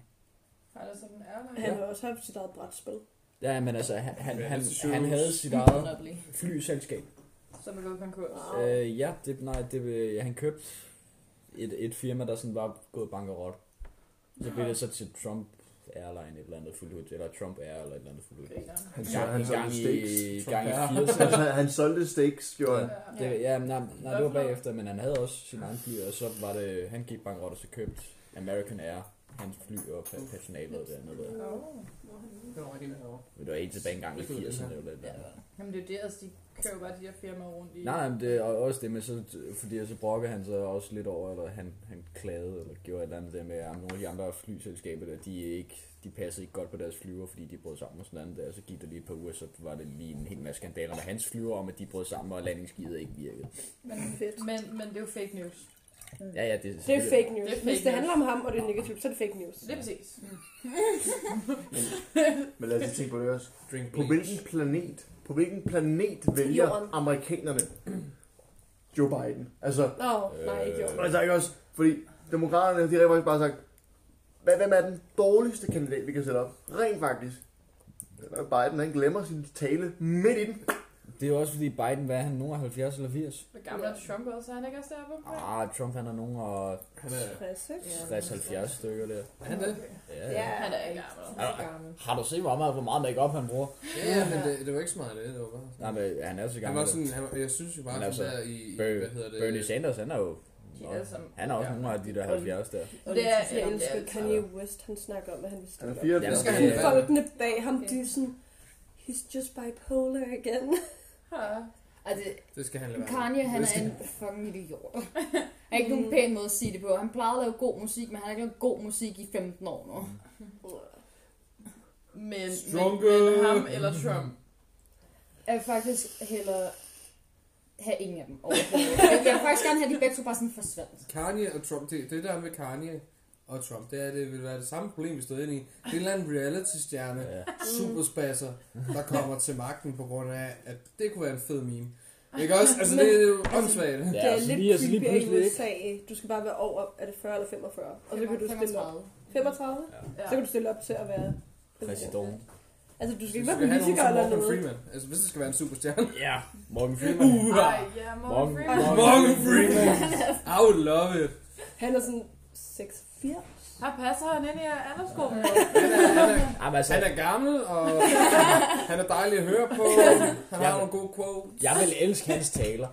Speaker 1: Har det sådan en ærlig?
Speaker 5: Han har også haft sit eget brætspil.
Speaker 6: Ja, men altså, han, han,
Speaker 4: Ja,
Speaker 6: han,
Speaker 4: det synes
Speaker 6: han
Speaker 4: jeg
Speaker 6: havde
Speaker 4: også.
Speaker 6: sit eget
Speaker 7: Underlig.
Speaker 6: flyselskab.
Speaker 1: Som er gået konkurs.
Speaker 6: Øh, ja, det, nej, det, øh, ja, han købte et, et firma, der sådan var gået bankerot. Så blev det så til Trump Airline et eller andet fuldt ud, eller Trump Air eller et eller andet fuldt ud.
Speaker 3: Han,
Speaker 6: Ja,
Speaker 3: ja,
Speaker 6: en
Speaker 3: han,
Speaker 6: gang
Speaker 3: solgte steaks.
Speaker 6: i,
Speaker 4: Trump
Speaker 6: gang i
Speaker 4: Air.
Speaker 6: 80'erne.
Speaker 3: <laughs> Han, sol- han solgte steaks, gjorde han.
Speaker 6: Det,
Speaker 1: Ja.
Speaker 6: ja, men nej, nej, det
Speaker 1: Hvad
Speaker 6: var
Speaker 1: for noget?
Speaker 6: bagefter, men han havde også sin egen fly, og så var det, han gik bankrot, og så købte American Air hans fly og pa- personalet og det andet der.
Speaker 4: Det var rigtig herovre.
Speaker 6: Men det var helt tilbage engang i 80'erne eller det der.
Speaker 1: Jamen det er jo det, altså, de kører jo bare de der firmaer rundt i.
Speaker 6: Nej, nej, men det er også det med, så, fordi så brokkede han sig også lidt over, eller han, han klagede, eller gjorde et eller andet der med, at nogle af de andre flyselskaber, der, de, er ikke, de passede ikke godt på deres flyver, fordi de brød sammen og sådan noget der, og så gik der lige et par uger, så var det lige en hel masse skandaler med hans flyver, om at de brød sammen, og landingsskidet ikke virkede.
Speaker 1: Men,
Speaker 5: Fedt.
Speaker 1: men, men det er jo fake news.
Speaker 6: Ja, ja, det,
Speaker 5: Det er fake news.
Speaker 1: Det er fake
Speaker 5: Hvis det
Speaker 1: news.
Speaker 5: handler om ham, og det er negativt, så er det fake news.
Speaker 1: Det er præcis.
Speaker 3: Men lad os lige tænke på det også.
Speaker 4: Drink
Speaker 3: På hvilken planet, på hvilken planet vælger
Speaker 5: Jorden.
Speaker 3: amerikanerne Joe Biden? Altså,
Speaker 5: Nå, nej, ikke jo.
Speaker 3: altså ikke også, fordi demokraterne, de har faktisk bare sagt, hvad, hvem er den dårligste kandidat, vi kan sætte op? Rent faktisk. Biden, han glemmer sin tale midt i den.
Speaker 6: Det er jo også fordi Biden, hvad er han, nogen af 70 eller 80?
Speaker 1: Hvor gammel er Trump også? Er han ikke også deroppe?
Speaker 6: Ah, Trump han er nogen af
Speaker 4: Han er...
Speaker 6: 60-70 stykker der.
Speaker 4: Han er det?
Speaker 6: Ja.
Speaker 5: Ja.
Speaker 1: Han er ikke gammel.
Speaker 6: Har du set, hvor meget, hvor meget make-up han bruger?
Speaker 4: Ja, ja, men det, det var ikke så meget af det, det var bare...
Speaker 6: Nej, men han er så
Speaker 4: Han
Speaker 6: gammel.
Speaker 4: var sådan, øh, han, var- jeg synes jo bare,
Speaker 6: Men
Speaker 4: sådan
Speaker 6: altså,
Speaker 4: der i, i
Speaker 6: Bernie-
Speaker 4: hvad hedder det?
Speaker 6: Bernie Sanders, han er jo...
Speaker 1: De er alle sammen.
Speaker 6: Han er også
Speaker 4: Ja.
Speaker 6: nogle af de der 70 der.
Speaker 5: Og
Speaker 1: Det
Speaker 5: det
Speaker 1: er-
Speaker 5: er,
Speaker 1: ja,
Speaker 5: jeg
Speaker 1: det
Speaker 5: elsker
Speaker 1: er-
Speaker 5: Kanye West, han snakker om, at han vil
Speaker 3: Han
Speaker 5: stille
Speaker 3: er
Speaker 5: op.
Speaker 3: 84.
Speaker 6: Jamen,
Speaker 4: skal
Speaker 6: det-
Speaker 4: han være.
Speaker 5: Folkene bag ham, de er sådan, he's just bipolar again.
Speaker 1: Ja.
Speaker 7: Altså,
Speaker 4: Det skal han lade være.
Speaker 7: Kanye, han
Speaker 4: Det
Speaker 7: er
Speaker 4: skal-
Speaker 7: en fucking idiot. Han har ikke nogen pæn måde at sige det på. Han plejede at lave god musik, men han har ikke lavet god musik i 15 år nu.
Speaker 1: Men, men,
Speaker 4: Stronger.
Speaker 1: men ham eller Trump?
Speaker 7: Jeg vil faktisk hellere have ingen af dem overhovedet. Jeg vil faktisk gerne have de begge to bare sådan forsvandt.
Speaker 4: Kanye og Trump, det, det der med Kanye og Trump, det er, det vil være det samme problem, vi stod ind i. Det er en eller anden reality-stjerne,
Speaker 6: Ja.
Speaker 4: superspasser, der kommer til magten på grund af, at det kunne være en fed meme. Ikke også? Altså, det, det er jo åndssvagt.
Speaker 6: Ja,
Speaker 5: det er
Speaker 6: altså,
Speaker 5: lidt
Speaker 6: lige- altså, lige
Speaker 5: creepy i
Speaker 6: pludselig ikke.
Speaker 5: USA. Du skal bare være over, er det 40 eller 45? Og så kan du stille op.
Speaker 7: 35.
Speaker 5: 35?
Speaker 1: Ja.
Speaker 5: Så kan du stille op til at være
Speaker 6: Præsident.
Speaker 5: Altså, du skal
Speaker 4: Du
Speaker 5: ikke være
Speaker 4: skal have nogen
Speaker 5: politiker
Speaker 4: som
Speaker 5: eller
Speaker 4: Morgan
Speaker 5: noget.
Speaker 4: Freeman. Altså, hvis det skal være en superstjerne.
Speaker 6: Ja, Morgan Freeman.
Speaker 4: Uh.
Speaker 1: Ej, ja, Morgan
Speaker 6: Morgan,
Speaker 1: Freeman.
Speaker 4: Morgan Freeman!
Speaker 5: <laughs>
Speaker 4: I would love it.
Speaker 5: Han er sådan 6-4.
Speaker 1: Her passer han ind i
Speaker 7: <laughs>
Speaker 1: aldersgruppen.
Speaker 4: Han er, han er,
Speaker 6: Jamen, altså,
Speaker 4: han er gammel, og han er dejlig at høre på. Han har nogle gode quotes.
Speaker 6: jeg vil elske hans taler.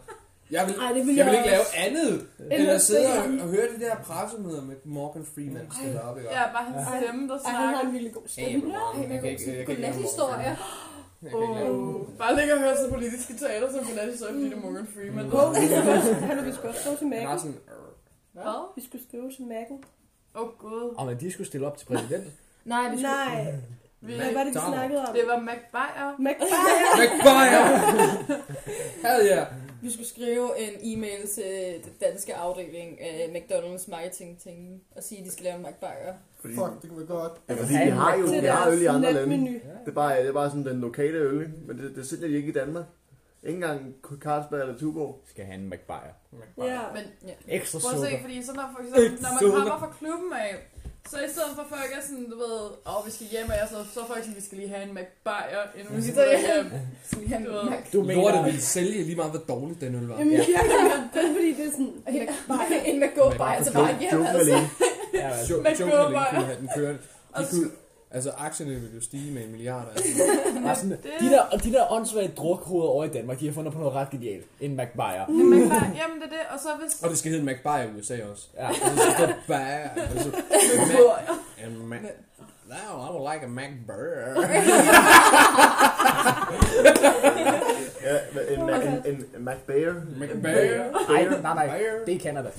Speaker 4: Jeg vil,
Speaker 5: Ej, det
Speaker 4: jeg,
Speaker 5: vil
Speaker 4: vil
Speaker 5: jeg
Speaker 4: ikke lave andet, end
Speaker 5: Eller
Speaker 4: at sidde
Speaker 5: se
Speaker 4: og,
Speaker 5: ham.
Speaker 4: og høre de der pressemøder med Morgan Freeman. Skal op, ikke?
Speaker 1: Ja, bare hans stemme, der
Speaker 5: Ej, han har
Speaker 1: snakker.
Speaker 5: en vildt god
Speaker 4: Ja, jeg
Speaker 5: stemme.
Speaker 4: vil meget- jeg kan ikke- jeg kan ikke lave
Speaker 7: Godnat-historier.
Speaker 4: Morgan Freeman. Jeg kan ikke lave
Speaker 1: Oh. Bare ligge og høre sig politiske taler, som kan lade så fordi det er Morgan Freeman.
Speaker 5: <laughs>
Speaker 4: Mm.
Speaker 5: Hov, han vil skrive skrive til
Speaker 4: Han har
Speaker 5: Mac'en.
Speaker 4: sådan...
Speaker 1: Hvad?
Speaker 5: Vi skulle skrive til Mac'en.
Speaker 1: Åh oh, gud.
Speaker 6: Og men de skulle stille op til præsident.
Speaker 7: Nej, vi skulle...
Speaker 5: Nej,
Speaker 1: Vi,
Speaker 5: hvad var det, vi
Speaker 4: McDonald.
Speaker 5: snakkede om?
Speaker 1: det var Mac Bayer.
Speaker 5: Mac <laughs>
Speaker 4: McBuyer! Hell yeah!
Speaker 7: Vi skulle skrive en e-mail til den danske afdeling af McDonald's marketing-ting og sige, at de skal lave en McBayer.
Speaker 3: Fordi,
Speaker 4: Fuck, det kunne være godt. Altså,
Speaker 3: ja, fordi de har jo
Speaker 5: til
Speaker 3: de har øl i andre
Speaker 5: deres
Speaker 3: lande.
Speaker 5: natmenu.
Speaker 3: Det er bare, det er bare sådan den lokale øl, ikke? men det, det sælger de ikke i Danmark. Ikke engang Carlsberg eller Tuborg.
Speaker 6: Skal han en McBuyer.
Speaker 5: Ja,
Speaker 1: Men
Speaker 7: Ja.
Speaker 6: Ekstra
Speaker 1: prøv at se,
Speaker 6: sukker.
Speaker 1: fordi så når, for eksempel, når man kommer fra klubben af, så i stedet for folk er sådan, du ved, åh, oh, vi skal hjem, og jeg så, så er folk sådan, vi skal lige have en Mac Bayer, inden
Speaker 4: Mm.
Speaker 1: vi skal
Speaker 7: <laughs>
Speaker 1: hjem.
Speaker 7: Sådan her
Speaker 1: Du ved.
Speaker 7: med
Speaker 6: Du
Speaker 4: Lortet ville sælge lige meget, hvor dårligt den øl var.
Speaker 5: Jamen, <laughs> ja. det er fordi, det er sådan...
Speaker 7: <laughs> McBayer. En McBayer til bare hjem,
Speaker 3: Joken
Speaker 7: altså.
Speaker 3: alene.
Speaker 6: Ja, altså.
Speaker 4: Jo-
Speaker 1: Men
Speaker 4: Joken alene
Speaker 1: Burger.
Speaker 4: kunne have den kørende.
Speaker 1: Og
Speaker 4: De kunne, altså, aktierne ville jo stige med en milliard. Altså.
Speaker 6: Bare sådan, de der, og de der åndssvage drukhoveder over i Danmark, de har fundet på noget ret genialt. En McBuyer.
Speaker 1: Det er Mac Bayer. Jamen, det er det, og så hvis...
Speaker 4: Og det skal hedde McBuyer i USA også.
Speaker 6: Ja.
Speaker 4: Altså, det er bare... Altså,
Speaker 1: Bayer.
Speaker 4: en Mac... Now I would like a McBurger.
Speaker 3: Ja, men en, en, en, en Mac Bayer.
Speaker 4: McBayer.
Speaker 6: Ej, nej, nej.
Speaker 4: Bayer.
Speaker 6: Det er Canada.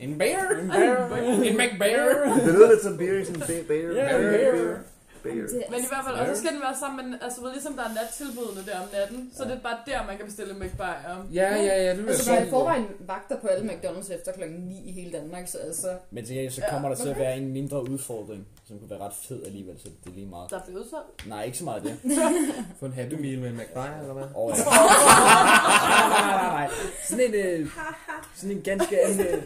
Speaker 4: En bear. En bear. En McBayer.
Speaker 3: Det lyder lidt som beer, sådan Bayer.
Speaker 6: Ja,
Speaker 3: Bayer.
Speaker 6: Bayer.
Speaker 3: Bay Area.
Speaker 1: Men i hvert fald, og så skal den være sammen med, altså ved, ligesom der er nattilbudene der om natten, så
Speaker 6: Ja.
Speaker 1: det er bare der, man kan bestille McBayer.
Speaker 4: Ja, ja, ja, det vil
Speaker 7: Altså,
Speaker 4: jeg
Speaker 7: der er i
Speaker 4: sige.
Speaker 7: forvejen vagter på alle McDonald's efter klokken 9 i hele Danmark, så altså...
Speaker 6: Men til gengæld, så
Speaker 1: Ja,
Speaker 6: kommer der til at
Speaker 7: okay.
Speaker 6: være en mindre udfordring, som kunne være ret fed alligevel, så det er lige meget.
Speaker 1: Der bliver udsolgt.
Speaker 6: Nej, ikke så meget det.
Speaker 4: Få en happy meal med en McBride, eller hvad?
Speaker 6: Og, nej, nej, nej, nej. <laughs> Sådan en, øh, sådan en ganske anden... Øh,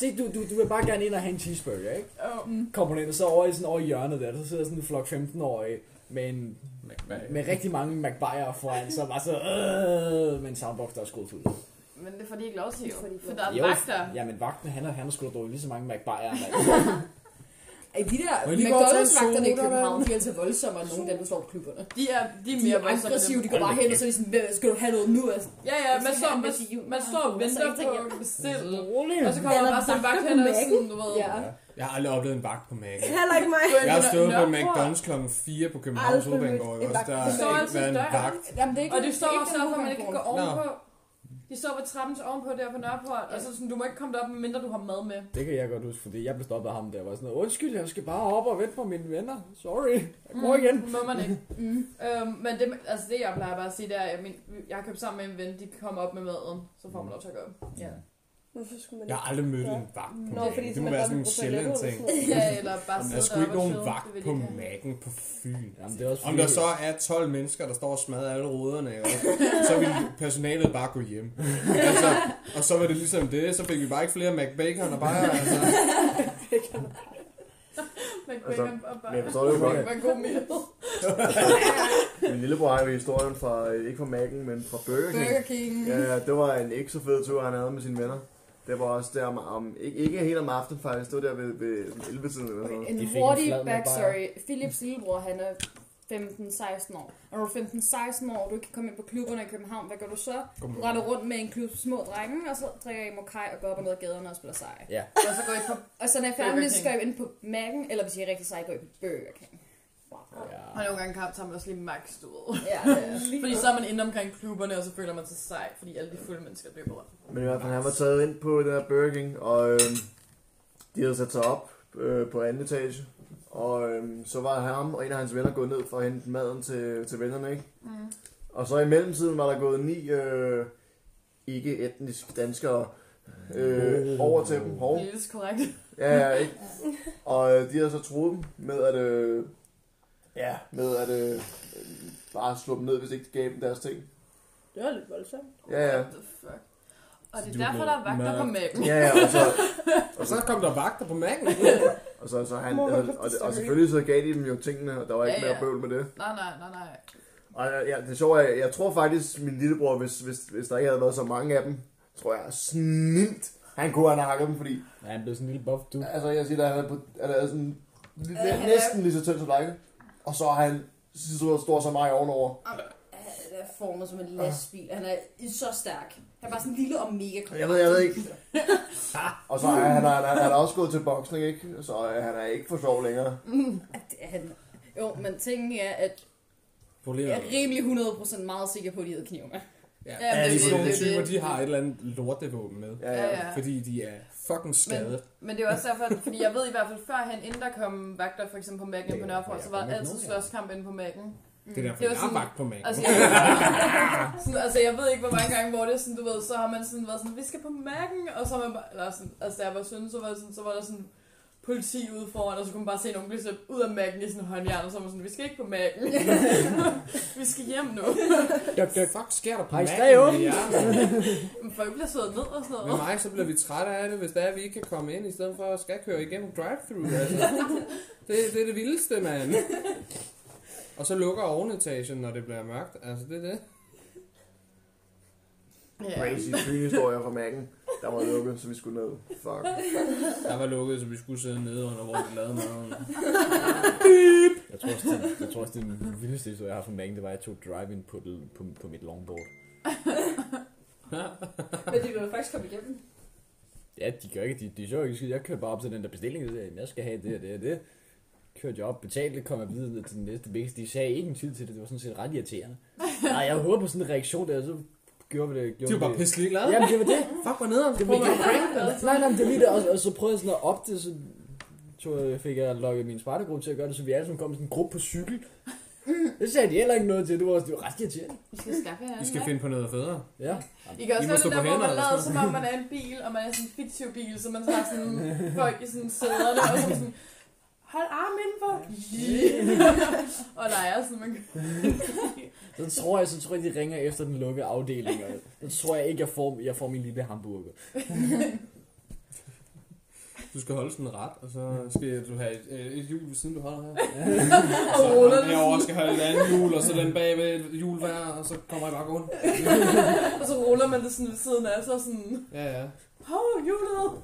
Speaker 6: det- du, du, du vil bare gerne ind og have en cheeseburger, ikke?
Speaker 7: mm.
Speaker 1: Um,
Speaker 6: Kommer du ind, og så over, i sådan over i hjørnet der, der sidder sådan en flok 15-årige med, en,
Speaker 4: McBride.
Speaker 6: med rigtig mange McBuyer foran, så bare så... Øh, med en soundbox, der er skruet fuldt.
Speaker 1: men det får de ikke lov til, jo.
Speaker 7: Det får de ikke
Speaker 1: For
Speaker 7: lov
Speaker 1: der er
Speaker 6: Jo,
Speaker 1: vagter.
Speaker 6: Ja, men vagten, han, er- han har sgu da drukket lige så mange McBuyer,
Speaker 7: <laughs>
Speaker 6: mand.
Speaker 7: Ej, de der
Speaker 4: Må jeg lige gå og tage en
Speaker 7: McDonald's-vagterne i
Speaker 4: soda,
Speaker 7: København, de er altså voldsommere end nogen af dem, der står på klubberne.
Speaker 1: De er, de er
Speaker 7: De
Speaker 1: mere
Speaker 7: er aggressive, de går bare
Speaker 6: Hold da
Speaker 7: hen og så er de sådan, "Hvad, skal du have noget nu? Altså,
Speaker 1: Ja, ja, man
Speaker 7: Hvis
Speaker 1: står,
Speaker 7: han
Speaker 1: man,
Speaker 7: vil sige jul,
Speaker 1: man
Speaker 7: så
Speaker 1: står
Speaker 7: han
Speaker 1: og
Speaker 7: får
Speaker 1: venter
Speaker 7: sig ikke
Speaker 1: på
Speaker 7: til
Speaker 1: at bestille.
Speaker 6: Rolig.
Speaker 1: Og så kommer der
Speaker 7: Eller
Speaker 1: bare sådan en vagt
Speaker 7: vagter
Speaker 1: hen og
Speaker 7: på Mac'en.
Speaker 1: sådan, du ved.
Speaker 7: Ja.
Speaker 4: Jeg har aldrig oplevet en vagt på Mac.
Speaker 7: Altså,
Speaker 5: Heller ikke mig.
Speaker 1: gå ind
Speaker 4: Jeg har
Speaker 1: i
Speaker 4: stået på
Speaker 1: Nørreport.
Speaker 4: McDonald's kl. 4 på Københavns
Speaker 7: Aldrig
Speaker 4: Hovedbanegård.
Speaker 7: mødt
Speaker 4: ikke også?
Speaker 7: en vagt
Speaker 4: Der
Speaker 7: på
Speaker 4: har
Speaker 1: Mac.
Speaker 4: ikke
Speaker 1: Står altid i
Speaker 4: været en vagt.
Speaker 7: Jamen, det er ikke,
Speaker 1: Og det står
Speaker 7: ikke
Speaker 1: også
Speaker 7: den
Speaker 1: derfor, at man ikke kan gå
Speaker 7: hovedbanegård.
Speaker 1: ovenpå. De står på trappen til ovenpå der på Nørreport, og så sådan, du må ikke komme derop, medmindre du har mad med.
Speaker 6: Det kan jeg godt huske, fordi jeg blev stoppet af ham der. Jeg var sådan noget, undskyld, jeg skal bare op og vente på mine venner. Sorry, jeg går igen.
Speaker 1: Mm, Må man ikke.
Speaker 7: Mm.
Speaker 1: øhm, men det, altså det, jeg plejer bare at sige, det er, at jeg, min, jeg har købt sammen med en ven, de kommer op med maden, så får man lov til at gå op.
Speaker 7: Ja.
Speaker 5: Hvorfor skulle man
Speaker 4: Jeg har aldrig mødt en vagt på
Speaker 5: Nå,
Speaker 4: Mac.
Speaker 5: fordi
Speaker 4: Det må være sådan en sjældent ting. <laughs>
Speaker 1: Ja,
Speaker 7: Mm.
Speaker 1: eller bare
Speaker 4: Der
Speaker 1: sidde
Speaker 4: er sgu
Speaker 1: deroppe
Speaker 4: ikke
Speaker 1: og
Speaker 4: nogen
Speaker 1: chill.
Speaker 4: vagt
Speaker 1: Det vil de
Speaker 4: på
Speaker 1: ikke have.
Speaker 4: Mac'en på Fyn.
Speaker 6: Jamen, det er også
Speaker 4: Om der så er 12 mennesker, der står og smadrer alle ruderne, <laughs> ikke også? så vil personalet bare gå hjem. Altså, og så var det ligesom det, så fik vi bare ikke flere McBacon og bare... Altså.
Speaker 1: Men
Speaker 3: Altså,
Speaker 1: bacon og
Speaker 3: Men jeg
Speaker 1: bare...
Speaker 3: forstår det jo godt.
Speaker 1: Det var en god meal.
Speaker 3: Min lillebror har jo historien fra, øh, ikke fra Mac'en, men fra Burger King.
Speaker 7: Burger King.
Speaker 3: Ja, det var en ikke så fed tur, han havde med sine venner. Det var også der om, om ikke, ikke helt om aftenen faktisk, det var der ved, ved 11-tiden eller sådan noget.
Speaker 7: En
Speaker 6: De fik en
Speaker 7: hurtig
Speaker 6: flad med
Speaker 7: backstory. Philips lillebror, han er 15-16 år. Og når du er 15-16 år, og du ikke kan komme ind på klubberne i København, hvad gør du så? Du render rundt med en klub små drenge, og så drikker I mokai og går op og ned ad gaderne og spiller sej.
Speaker 6: Ja,
Speaker 1: Og så går jeg på...
Speaker 7: Og så når jeg er
Speaker 1: Burger
Speaker 7: færdig med det, så
Speaker 1: King.
Speaker 7: skal jeg ind på Mac'en, eller hvis I er rigtig sej, går I på Burger King. Wow.
Speaker 1: Og
Speaker 6: ja.
Speaker 1: nogle gange kamp, så har man også lige max, du ved.
Speaker 7: Ja, det er-
Speaker 1: Fordi så er man inde omkring klubberne, og så føler man sig sej, fordi alle de fulde mennesker løber rundt.
Speaker 3: Men i hvert fald, han var taget ind på den her Burger King, og øhm, de havde sat sig op øh, på anden etage. Og øhm, så var ham og en af hans venner gået ned for at hente maden til, til vennerne, ikke? Mm. Og så i mellemtiden var der gået ni øh, ikke-etniske danskere øh, over til dem. Hov.
Speaker 1: Politisk korrekt.
Speaker 3: Ja, ja, <laughs> ikke? Og øh, de havde så troet dem med at, øh, ja, med at øh, øh, bare slå dem ned, hvis ikke de gav dem deres ting.
Speaker 5: Det var lidt voldsomt.
Speaker 3: Ja, ja.
Speaker 1: What the fuck? Og det
Speaker 4: Du
Speaker 1: er derfor,
Speaker 4: må-
Speaker 1: der er vagter
Speaker 4: må-
Speaker 1: på maven.
Speaker 3: Ja, ja, og så,
Speaker 4: Og så kom der vagter på Mac'en.
Speaker 3: og så, så han,
Speaker 5: Mor,
Speaker 3: altså, og, og, selvfølgelig så gav de dem jo tingene, og der var ikke
Speaker 1: Ja,
Speaker 3: ja,
Speaker 1: ja.
Speaker 3: mere bøvl med det.
Speaker 1: Nej, nej, nej, nej.
Speaker 3: Og øh, ja, det sjove er, jeg tror faktisk, min lillebror, hvis, hvis, hvis der ikke havde været så mange af dem, tror jeg, snilt, han kunne have hakket dem, fordi,
Speaker 6: Ja, han blev sådan en lille buff, du.
Speaker 3: altså jeg siger, at han er, på, han er sådan, lidt- næsten lige så tynd som dig, og så er han så stor som mig ovenover.
Speaker 7: Han er formet som en lastbil. Han er så stærk. Han er bare sådan lille og mega kort.
Speaker 3: Jeg ved, jeg ved ikke. <laughs> Og så er han, han, han, han er også gået til boksning, ikke? Så øh, han er ikke for sjov længere.
Speaker 7: Han... Jo, men tingen er, at
Speaker 4: Problemet
Speaker 7: jeg
Speaker 4: er-
Speaker 7: er rimelig 100% meget sikker på, at de hedder knive med.
Speaker 4: Ja,
Speaker 1: Ja,
Speaker 4: ja,
Speaker 1: men
Speaker 4: det er
Speaker 1: det-
Speaker 4: sådan nogle
Speaker 1: det- det-
Speaker 4: typer, de har et eller andet lortevåben med.
Speaker 3: Ja,
Speaker 1: Ja,
Speaker 3: ja.
Speaker 1: ja.
Speaker 4: Fordi de er fucking skadet.
Speaker 1: Men det er jo også derfor, at- fordi jeg ved i hvert fald førhen, inden der kom vagter for eksempel på Mac'en
Speaker 6: Ja,
Speaker 1: på Nørreport,
Speaker 6: ja,
Speaker 1: så var
Speaker 6: kom
Speaker 1: der
Speaker 6: ikke
Speaker 1: altid
Speaker 6: nogen, ja.
Speaker 1: slåskamp inde på Mac'en.
Speaker 4: Det er derfor,
Speaker 1: Det var
Speaker 4: jeg har
Speaker 1: sådan-
Speaker 4: vagt på Mac'en.
Speaker 1: Altså, jeg, sådan, altså, jeg ved ikke, hvor mange gange, hvor det er sådan, du ved, så har man sådan været sådan, vi skal på mærken, og så har man bare, eller sådan, altså, da jeg var søn, så var, det sådan, så var der sådan politi ude foran, og så kunne man bare se nogen blive slæbt ud af mærken i sådan en håndjern, og så var man sådan, vi skal ikke på mærken. <laughs> vi skal hjem nu.
Speaker 6: Duk,
Speaker 4: Hvad
Speaker 6: duk.
Speaker 4: fuck sker der på
Speaker 6: Hej,
Speaker 4: Mac'en?
Speaker 6: stay open.
Speaker 4: Ja.
Speaker 1: Men folk bliver slået ned og sådan
Speaker 4: Med
Speaker 1: noget.
Speaker 4: mig, så bliver vi trætte af det, hvis det er, at vi ikke kan komme ind, i stedet for at skal køre igennem drive-thru.
Speaker 1: <laughs>
Speaker 4: Altså. Det, det er det vildeste, mand. Og så lukker ovenetagen, når det bliver mørkt. Altså, det er det.
Speaker 1: Ja.
Speaker 3: Crazy fynhistorier fra mærken. Der var lukket, så vi skulle ned. Fuck.
Speaker 4: Der var lukket, så vi skulle sidde nede under, hvor vi lavede maden.
Speaker 6: Jeg tror også, det, jeg tror også, det er den vildeste historie, jeg har fra Magen, det var, at jeg tog drive-in på, det- på, på mit longboard.
Speaker 8: Men det vil jo faktisk komme igennem.
Speaker 6: Ja, de gør ikke, de, de så ikke skid. Jeg kørte bare op til den der bestilling, og sagde, jeg skal have det og det og det. Kørte jeg op, betalte, kom jeg videre til den næste bæks. De sagde ikke en tid til det, det var sådan set ret irriterende.
Speaker 4: <laughs>
Speaker 6: Nej, jeg håber på sådan en reaktion der, så gjorde vi det.
Speaker 4: De
Speaker 6: Gjorde
Speaker 4: var
Speaker 6: vi
Speaker 4: bare
Speaker 6: det.
Speaker 4: pisselig glade.
Speaker 6: Jamen, det var det.
Speaker 4: Fuck, hvor nederen.
Speaker 6: Det var ikke Nej, nej, men det er lige det. Og, og så prøvede jeg sådan at op det, så tog, øh, fik jeg lukket min spartegruppe til at gøre det, så vi alle sammen kom i sådan en gruppe på cykel. Det sagde de heller ikke noget til, det var, det var ret irriterende.
Speaker 1: Vi skal skaffe
Speaker 4: Vi
Speaker 1: hinanden,
Speaker 4: skal
Speaker 1: ikke?
Speaker 4: finde på noget federe.
Speaker 6: Ja.
Speaker 1: I kan også
Speaker 4: I må
Speaker 1: høre
Speaker 4: stå
Speaker 1: det der,
Speaker 4: på
Speaker 1: hvor man
Speaker 4: hænder
Speaker 1: lader,
Speaker 4: eller
Speaker 1: som om man er en bil, og man er sådan en fiktiv bil, så man så har sådan
Speaker 4: <laughs>
Speaker 1: folk i sådan sæderne, og så sådan, hold armen
Speaker 4: <laughs>
Speaker 1: indenfor. Yeah. og leger sådan, man
Speaker 6: Så tror jeg, så tror jeg, de ringer efter den lukkede afdeling, og så tror jeg ikke, jeg får, jeg får min lille hamburger.
Speaker 4: Du skal holde sådan en ret, og så skal du have et, øh, et hjul ved siden, du holder her.
Speaker 1: og
Speaker 4: Så
Speaker 1: ruller det.
Speaker 4: jeg over skal have et andet hjul, og så den bagved et hjul hver, og så kommer jeg bare gående.
Speaker 1: <laughs> og så ruller man det sådan ved siden af, så sådan,
Speaker 4: Ja, ja.
Speaker 1: hov, hjulet,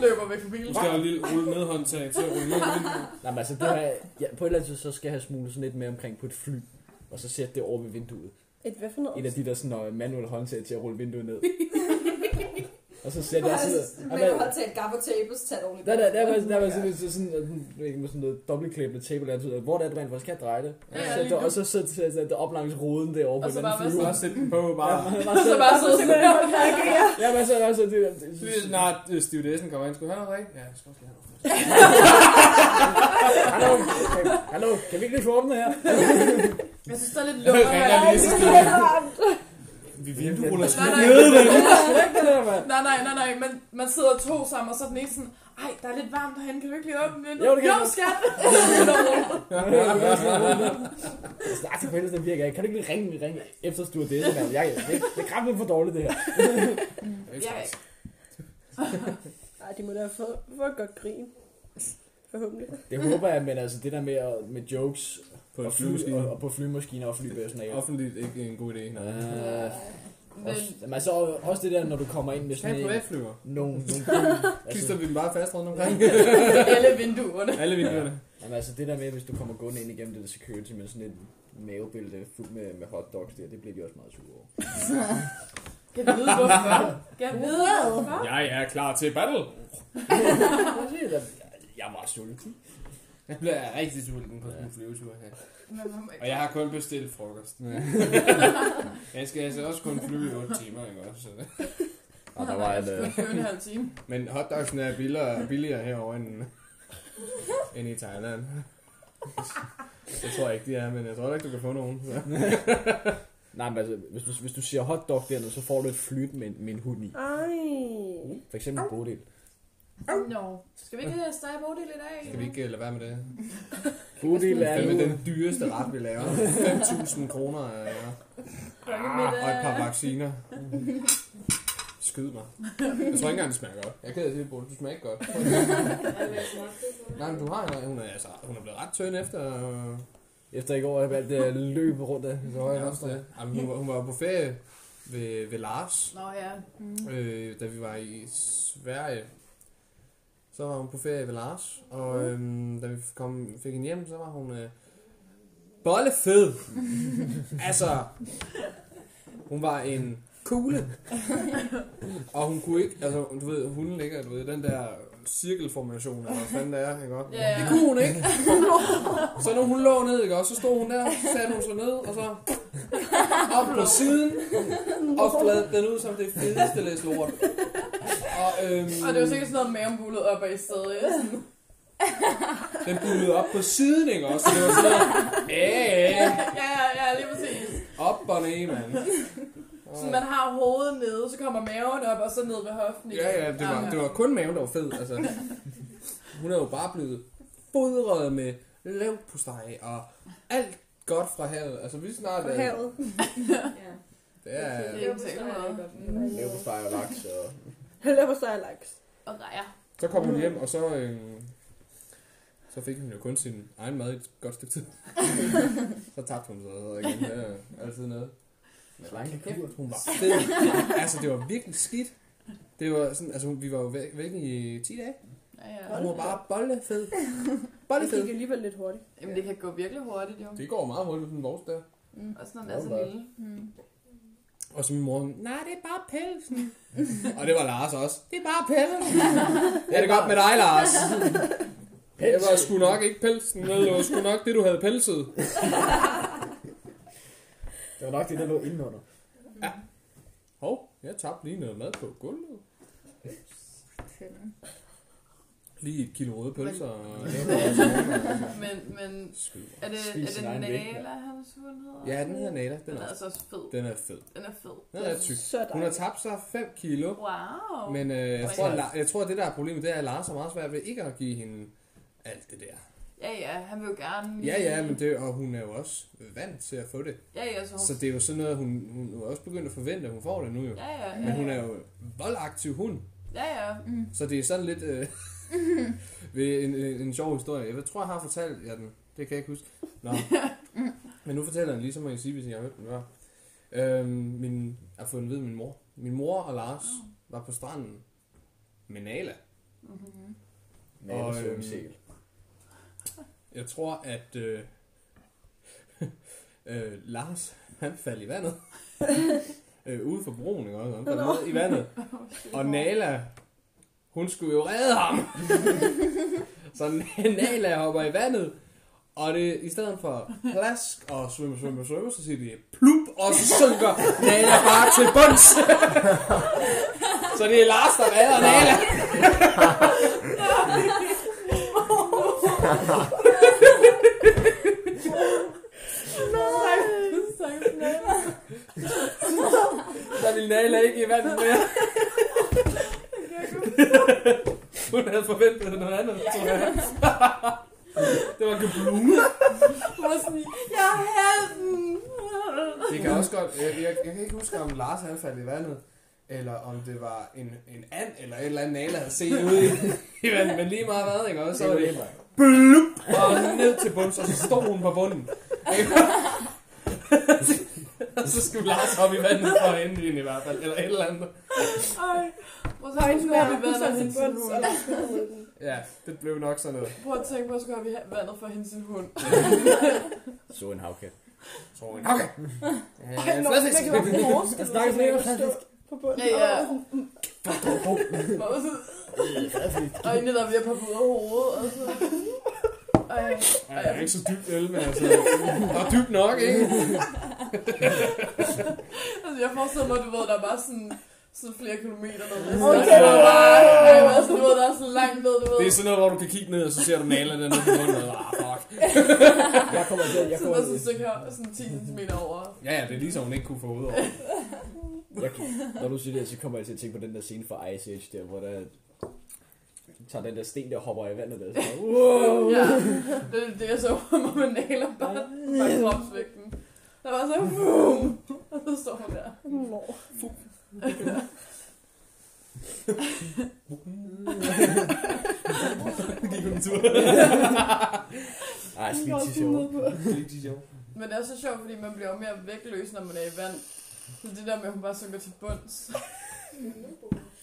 Speaker 1: løber væk fra bilen.
Speaker 4: Du skal have en lille rulle nedhåndtag til at rulle ned.
Speaker 6: Nej, men altså, det har jeg, ja, på et eller andet tidspunkt, så skal jeg have smuglet sådan lidt mere omkring på et fly, og så sætte det over ved vinduet.
Speaker 5: Et hvad for
Speaker 6: Et
Speaker 5: noget?
Speaker 6: af de der sådan øh, manuelle håndtag til at rulle vinduet ned. og så sætter jeg sådan
Speaker 7: Men
Speaker 6: noget.
Speaker 7: du har taget gaffatape, så tag det ordentligt.
Speaker 6: Der, der, der, var, der var sådan, sådan, sådan, sådan, jeg ved ikke, med sådan noget dobbeltklæbende tape eller andet, hvor der er, du rent faktisk kan dreje det.
Speaker 1: Ja, ja,
Speaker 6: så
Speaker 1: lige
Speaker 6: der, og så sætte så, så, det op langs ruden derovre på
Speaker 1: Og så
Speaker 6: den
Speaker 1: bare
Speaker 6: anden
Speaker 1: være
Speaker 6: flyver.
Speaker 4: Bare sæt den på, bare.
Speaker 1: Og <laughs> så bare sidder sådan der. <laughs>
Speaker 6: Ja, men så er så det... det-
Speaker 4: Så er det snart, øh, stewardessen kommer ind. Skal du have noget, ikke? Ja, jeg skal også lige have noget.
Speaker 6: Hallo, kan- hallo, kan vi ikke lige få åbnet her?
Speaker 1: Jeg synes, der er lidt
Speaker 4: Ringer
Speaker 1: lukker.
Speaker 4: jeg lige, så skal
Speaker 5: <laughs>
Speaker 4: jeg- Vi vindueruller sgu ned, vel? <laughs>
Speaker 1: Nej, nej, nej, nej, men man sidder to sammen, og så er den ene sådan, ej, der er lidt varmt derhen, kan du ikke lige åbne vinduet?
Speaker 6: Jo, det kan
Speaker 1: jo,
Speaker 6: jeg.
Speaker 1: skat!
Speaker 4: <laughs>
Speaker 6: Nej, for helvede, altså, den virker ikke. Kan du ikke lige ringe, ringe efter stewardessen, mand? Jeg, det, det er kraftigt for dårligt, det her.
Speaker 1: Ja,
Speaker 5: Nej, de må da få, få et godt grin. Forhåbentlig.
Speaker 6: Det håber jeg, men altså det der med, at, med jokes
Speaker 4: På en
Speaker 6: og, fly,
Speaker 4: flyvemaskine.
Speaker 6: og, og på flymaskiner og flypersonale.
Speaker 4: Offentligt ikke en god idé. nej.
Speaker 6: Øh,
Speaker 1: <laughs> men
Speaker 6: også, men altså også det der, når du kommer ind med
Speaker 4: Tag
Speaker 6: sådan
Speaker 4: en
Speaker 6: en...
Speaker 4: privatflyver.
Speaker 6: Nogle, nogle
Speaker 4: Klister
Speaker 6: altså,
Speaker 4: vi dem bare fast rundt omkring.
Speaker 1: alle vinduerne.
Speaker 4: <laughs> Alle vinduerne.
Speaker 6: jamen, altså det der med, hvis du kommer gående ind igennem det der security med sådan et mavebælte fuld med, med hotdogs der, det bliver de også meget sure over.
Speaker 1: Kan vi vide, <laughs> hvorfor? Kan vi vide, hvorfor?
Speaker 4: Jeg er klar til battle.
Speaker 6: Præcis, jeg- jeg var sulten.
Speaker 4: Jeg bliver rigtig sulten på sådan en flyvetur her.
Speaker 1: Men man må ikke-
Speaker 4: Og jeg har kun bestilt frokost. <laughs> jeg skal altså også kun flyve i 8 timer, ikke også? Så.
Speaker 6: Og der var et...
Speaker 1: Det
Speaker 6: Øh,
Speaker 1: var en halv time.
Speaker 4: Men hotdogsen er billigere, billigere herovre end, end i Thailand. Jeg tror ikke, de er, men jeg tror ikke, du kan få nogen. Så.
Speaker 6: nej, men altså, hvis du, hvis du siger hotdog dernede, så får du et flyt med, en- med en hund i.
Speaker 5: Ej.
Speaker 6: For eksempel en bodel.
Speaker 1: Nå, skal vi ikke stege Bodil i dag?
Speaker 4: Skal vi ikke øh, lade være med det?
Speaker 6: Bodil
Speaker 4: Det
Speaker 6: er
Speaker 4: er
Speaker 6: nu...
Speaker 4: den dyreste ret, vi laver. 5.000 kroner øh,
Speaker 1: Folkemiddag.
Speaker 4: Ah, og et par vacciner. Skyd mig. Jeg tror ikke engang, det smager godt. Jeg kan sige, Bo, du smager ikke godt. Nej, men du har hun er, altså, hun er blevet ret tynd efter... øh,
Speaker 6: Efter i går, jeg valgte at løbe rundt af. Så var
Speaker 4: Ja,
Speaker 6: jeg
Speaker 4: også
Speaker 6: også
Speaker 4: det. Jamen, hun, var, hun var på ferie ved, ved Lars,
Speaker 1: Nå ja. Mm.
Speaker 4: øh, da vi var i Sverige. Så var hun på ferie ved Lars,
Speaker 1: Mm.
Speaker 4: og øh, da vi kom, fik hende hjem, så var hun øh,
Speaker 1: <laughs>
Speaker 4: bollefed. altså, hun var en kugle. og hun kunne ikke, altså, du ved, hun ligger, du ved, den der cirkelformation, eller hvad fanden det er, ikke også?
Speaker 1: Ja, ja.
Speaker 4: Det kunne hun
Speaker 1: <laughs>
Speaker 4: ikke. så når hun lå ned, ikke også, så stod hun der, så satte hun sig ned, og så op på
Speaker 1: <laughs>
Speaker 4: siden, og flad den ud som det fedeste læs lort. Og, øhm,
Speaker 1: Og det var sikkert sådan noget mavembulet op ad i stedet. Ja. Sådan,
Speaker 4: den bullede op på siden, ikke også? Så det var sådan noget, æh,
Speaker 1: Ja, ja, ja, lige præcis.
Speaker 4: op og ned, mand.
Speaker 1: Så man har hovedet nede, så kommer maven op, og så ned ved hoften igen. Ah,
Speaker 4: Ja, ja, det var, det var kun maven, der var fed. Altså, hun er jo bare blevet fodret med lav på steg og alt godt fra havet. Altså, vi snart...
Speaker 5: På
Speaker 4: øh,
Speaker 5: havet.
Speaker 8: Ja.
Speaker 4: Det er,
Speaker 1: Det er ikke sikkert noget.
Speaker 6: Lave på steg og laks og...
Speaker 5: Heller på sig laks.
Speaker 1: Og rejer.
Speaker 4: Så kom hun hjem, og så, øh, så fik hun jo kun sin egen mad i et godt stykke tid. så tabte hun sig og igen. Det er altid noget.
Speaker 6: Slanke
Speaker 4: Kæft, hun var fed. altså, det var virkelig skidt. Det var sådan, altså, vi var jo væk, væk i 10 dage.
Speaker 1: Ja, ja.
Speaker 4: Og hun var bare bollefed.
Speaker 5: Det gik
Speaker 4: Bollefed.
Speaker 5: alligevel lidt hurtigt.
Speaker 1: Jamen, det kan gå virkelig hurtigt, jo. Mm.
Speaker 4: Det går meget hurtigt, den vores der.
Speaker 1: Og sådan, når den er så
Speaker 6: Åbenbart.
Speaker 1: lille. Mm.
Speaker 4: Og så min mor, nej, det er bare pelsen. <laughs> og det var Lars også. Det er bare <laughs> pelsen. ja, det er godt med dig, Lars. Det var sgu nok ikke pelsen, men det var sgu nok det, du havde pelset.
Speaker 6: Det var nok det, der lå indenunder.
Speaker 4: Hov, jeg tabte lige noget mad på gulvet. Lige et kilo røde pølser.
Speaker 1: Men-
Speaker 4: og leverpostej til morgenmad.
Speaker 1: Men, men
Speaker 4: Skyd.
Speaker 1: er det,
Speaker 6: Spis
Speaker 1: er det
Speaker 6: sin egen væg,
Speaker 1: Nala, hans hund hedder?
Speaker 4: Ja, den hedder Nala. Den
Speaker 1: Den
Speaker 4: er,
Speaker 1: er altså
Speaker 4: også-
Speaker 1: også fed.
Speaker 4: den er fed.
Speaker 1: Den er fed.
Speaker 4: Den er tyk.
Speaker 5: Så
Speaker 4: Hun har
Speaker 5: dejligt.
Speaker 4: tabt sig 5 kilo.
Speaker 1: Wow.
Speaker 4: Men øh, jeg,
Speaker 1: Ej.
Speaker 4: tror, at, La- jeg tror, at det der er problemet, det er, at Lars har meget svært ved ikke at give hende alt det der.
Speaker 1: Ja, ja, han vil jo gerne...
Speaker 4: Ja, ja, men det, og hun er jo også vant til at få det.
Speaker 1: Ja, ja, så hun...
Speaker 4: Så det er jo sådan noget, hun, hun er også begyndt at forvente, at hun får det nu jo.
Speaker 1: Ja, ja, ja.
Speaker 4: Men hun er jo voldaktiv hund.
Speaker 1: Ja, ja. Mm.
Speaker 4: Så det er sådan lidt øh, <laughs> ved en, en, en sjov historie. Jeg tror, jeg har fortalt jer den. Det kan jeg ikke huske. Nå. Men nu fortæller jeg den lige, så må I sige, hvis I har hørt den før. Øhm, min, jeg har fået den ved min mor. Min mor og Lars var på stranden med Nala.
Speaker 1: Mm-hmm.
Speaker 4: Og,
Speaker 6: Nala
Speaker 4: øhm,
Speaker 6: øhm, Sæl.
Speaker 4: Jeg tror, at øh, <laughs> øh, Lars, han faldt i vandet. øh, ude for broen, ikke også? Han faldt ned i vandet. Og Nala, hun skulle jo redde ham. så Nala hopper i vandet. Og det, i stedet for plask og svømme, svømme, svømme, så siger de plup, og så synker Nala bare til bunds. så det er Lars, der redder Nala. Der ville Nala ikke i vandet mere. Hun havde forventet noget andet, tror jeg. det var geblume.
Speaker 1: Hun var sådan, jeg er helten!
Speaker 4: Det kan også godt... Jeg, jeg, jeg kan ikke huske, om Lars han faldt i vandet, eller om det var en, en and, eller et eller andet Nala havde set ude i, i vandet. Men lige meget hvad, ikke? Og så var det blup, og ned til bunds, og så stod hun på bunden. Ikke? og så skulle Lars op i vandet for at hente hende i hvert fald, eller et eller andet.
Speaker 1: Ej. Hvor så
Speaker 5: Ej,
Speaker 1: hun
Speaker 5: nu
Speaker 1: skulle
Speaker 5: er
Speaker 1: op i
Speaker 5: hun
Speaker 1: vandet
Speaker 5: sådan
Speaker 1: for
Speaker 5: en
Speaker 1: hende sin
Speaker 5: bund, så
Speaker 1: hund.
Speaker 5: er der sgu den.
Speaker 4: Ja, det blev nok sådan noget.
Speaker 1: Prøv at tænke, hvor skulle op i vandet for hende sin
Speaker 4: <laughs>
Speaker 1: hund.
Speaker 6: Så en havkat.
Speaker 4: Så hun, okay.
Speaker 5: Ej, nå,
Speaker 4: flaske.
Speaker 5: det kan være forskel,
Speaker 6: Jeg snakker
Speaker 5: hvis man
Speaker 6: mere om
Speaker 5: kan stå på bunden.
Speaker 1: Ja, ja.
Speaker 5: Åh,
Speaker 1: Hvor var sådan, og hende der bliver på hovedet og hovedet, og så... Ej,
Speaker 4: Ej, det er ikke så dybt øl, men altså... Og dybt nok, ikke?
Speaker 1: altså jeg forestiller mig, du ved, der er bare sådan, sådan flere kilometer Altså, dernede.
Speaker 5: Okay.
Speaker 1: Okay. Ej, men altså, du ved, der er sådan langt ned, du ved.
Speaker 4: Det er sådan noget, hvor du kan kigge ned, og så ser du Nala dernede på bunden, og ah, fuck.
Speaker 6: Jeg kommer til,
Speaker 1: Sådan
Speaker 6: jeg kommer
Speaker 1: der sådan et stykke her, sådan 10 cm over.
Speaker 4: Ja, ja, det er ligesom, hun ikke kunne få ud over.
Speaker 6: Jeg, når du siger det, så kommer jeg til at tænke på den der scene fra Ice Age, der hvor der tager den der sten, der hopper i vandet der. Så,
Speaker 4: <laughs>
Speaker 6: wow!
Speaker 1: Ja, det er det, jeg så <laughs> hvor man naler bare, bare kropsvægten. Der var så, boom, og så står hun der.
Speaker 5: nå.
Speaker 4: <laughs> Gik hun en tur.
Speaker 6: Ej, skal vi til sjov.
Speaker 1: Men det er så sjovt, fordi man bliver jo mere vægtløs, når man er i vand. Så det der med, at hun bare synker til bunds.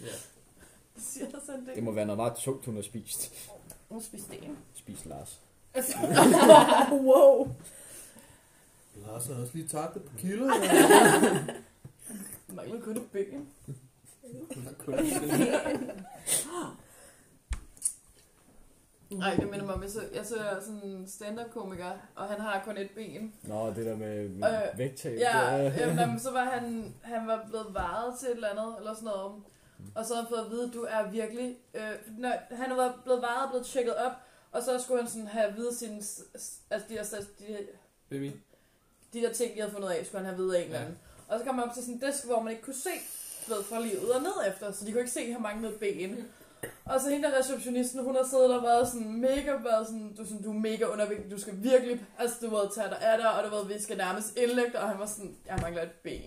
Speaker 4: Ja.
Speaker 1: Det siger sådan
Speaker 6: Det
Speaker 1: det.
Speaker 6: må være noget meget tungt, hun har spist.
Speaker 1: Hun spiste det.
Speaker 6: Spis Lars.
Speaker 1: Altså.
Speaker 6: <laughs>
Speaker 5: Wow.
Speaker 2: Lars har også lige tabt et par kilo.
Speaker 1: Hun manglede kun et ben.
Speaker 4: <laughs>
Speaker 1: Nej, det minder mig om, jeg så, jeg så sådan en stand-up-komiker, og han har kun et ben.
Speaker 6: Nå, det der med, med
Speaker 1: Øh,
Speaker 6: øh, vægttab.
Speaker 1: Ja,
Speaker 6: det er-
Speaker 1: jamen,
Speaker 6: <laughs>
Speaker 1: jamen, så var han, han var blevet varet til et eller andet, eller sådan noget. Og så havde han fået at vide, at du er virkelig... Øh, nej, han var blevet varet og blevet tjekket op, og så skulle han sådan have at vide sine... s- s- Altså, de her, stats- de, her-
Speaker 4: Baby.
Speaker 1: de der ting, de havde fundet ud af, skulle han have at vide af en eller anden. Og så kom han op til sådan en desk, hvor man ikke kunne se du ved, fra livet og ned efter, så de kunne ikke se, at han manglede ben. Og så hende der receptionisten, hun har siddet der og været sådan mega, været sådan, du, er sådan, du er mega undervægtig, du skal virkelig, altså du ved, tage dig af dig, og du ved, vi skal nærmest indlægge dig, og han var sådan, jeg mangler et ben.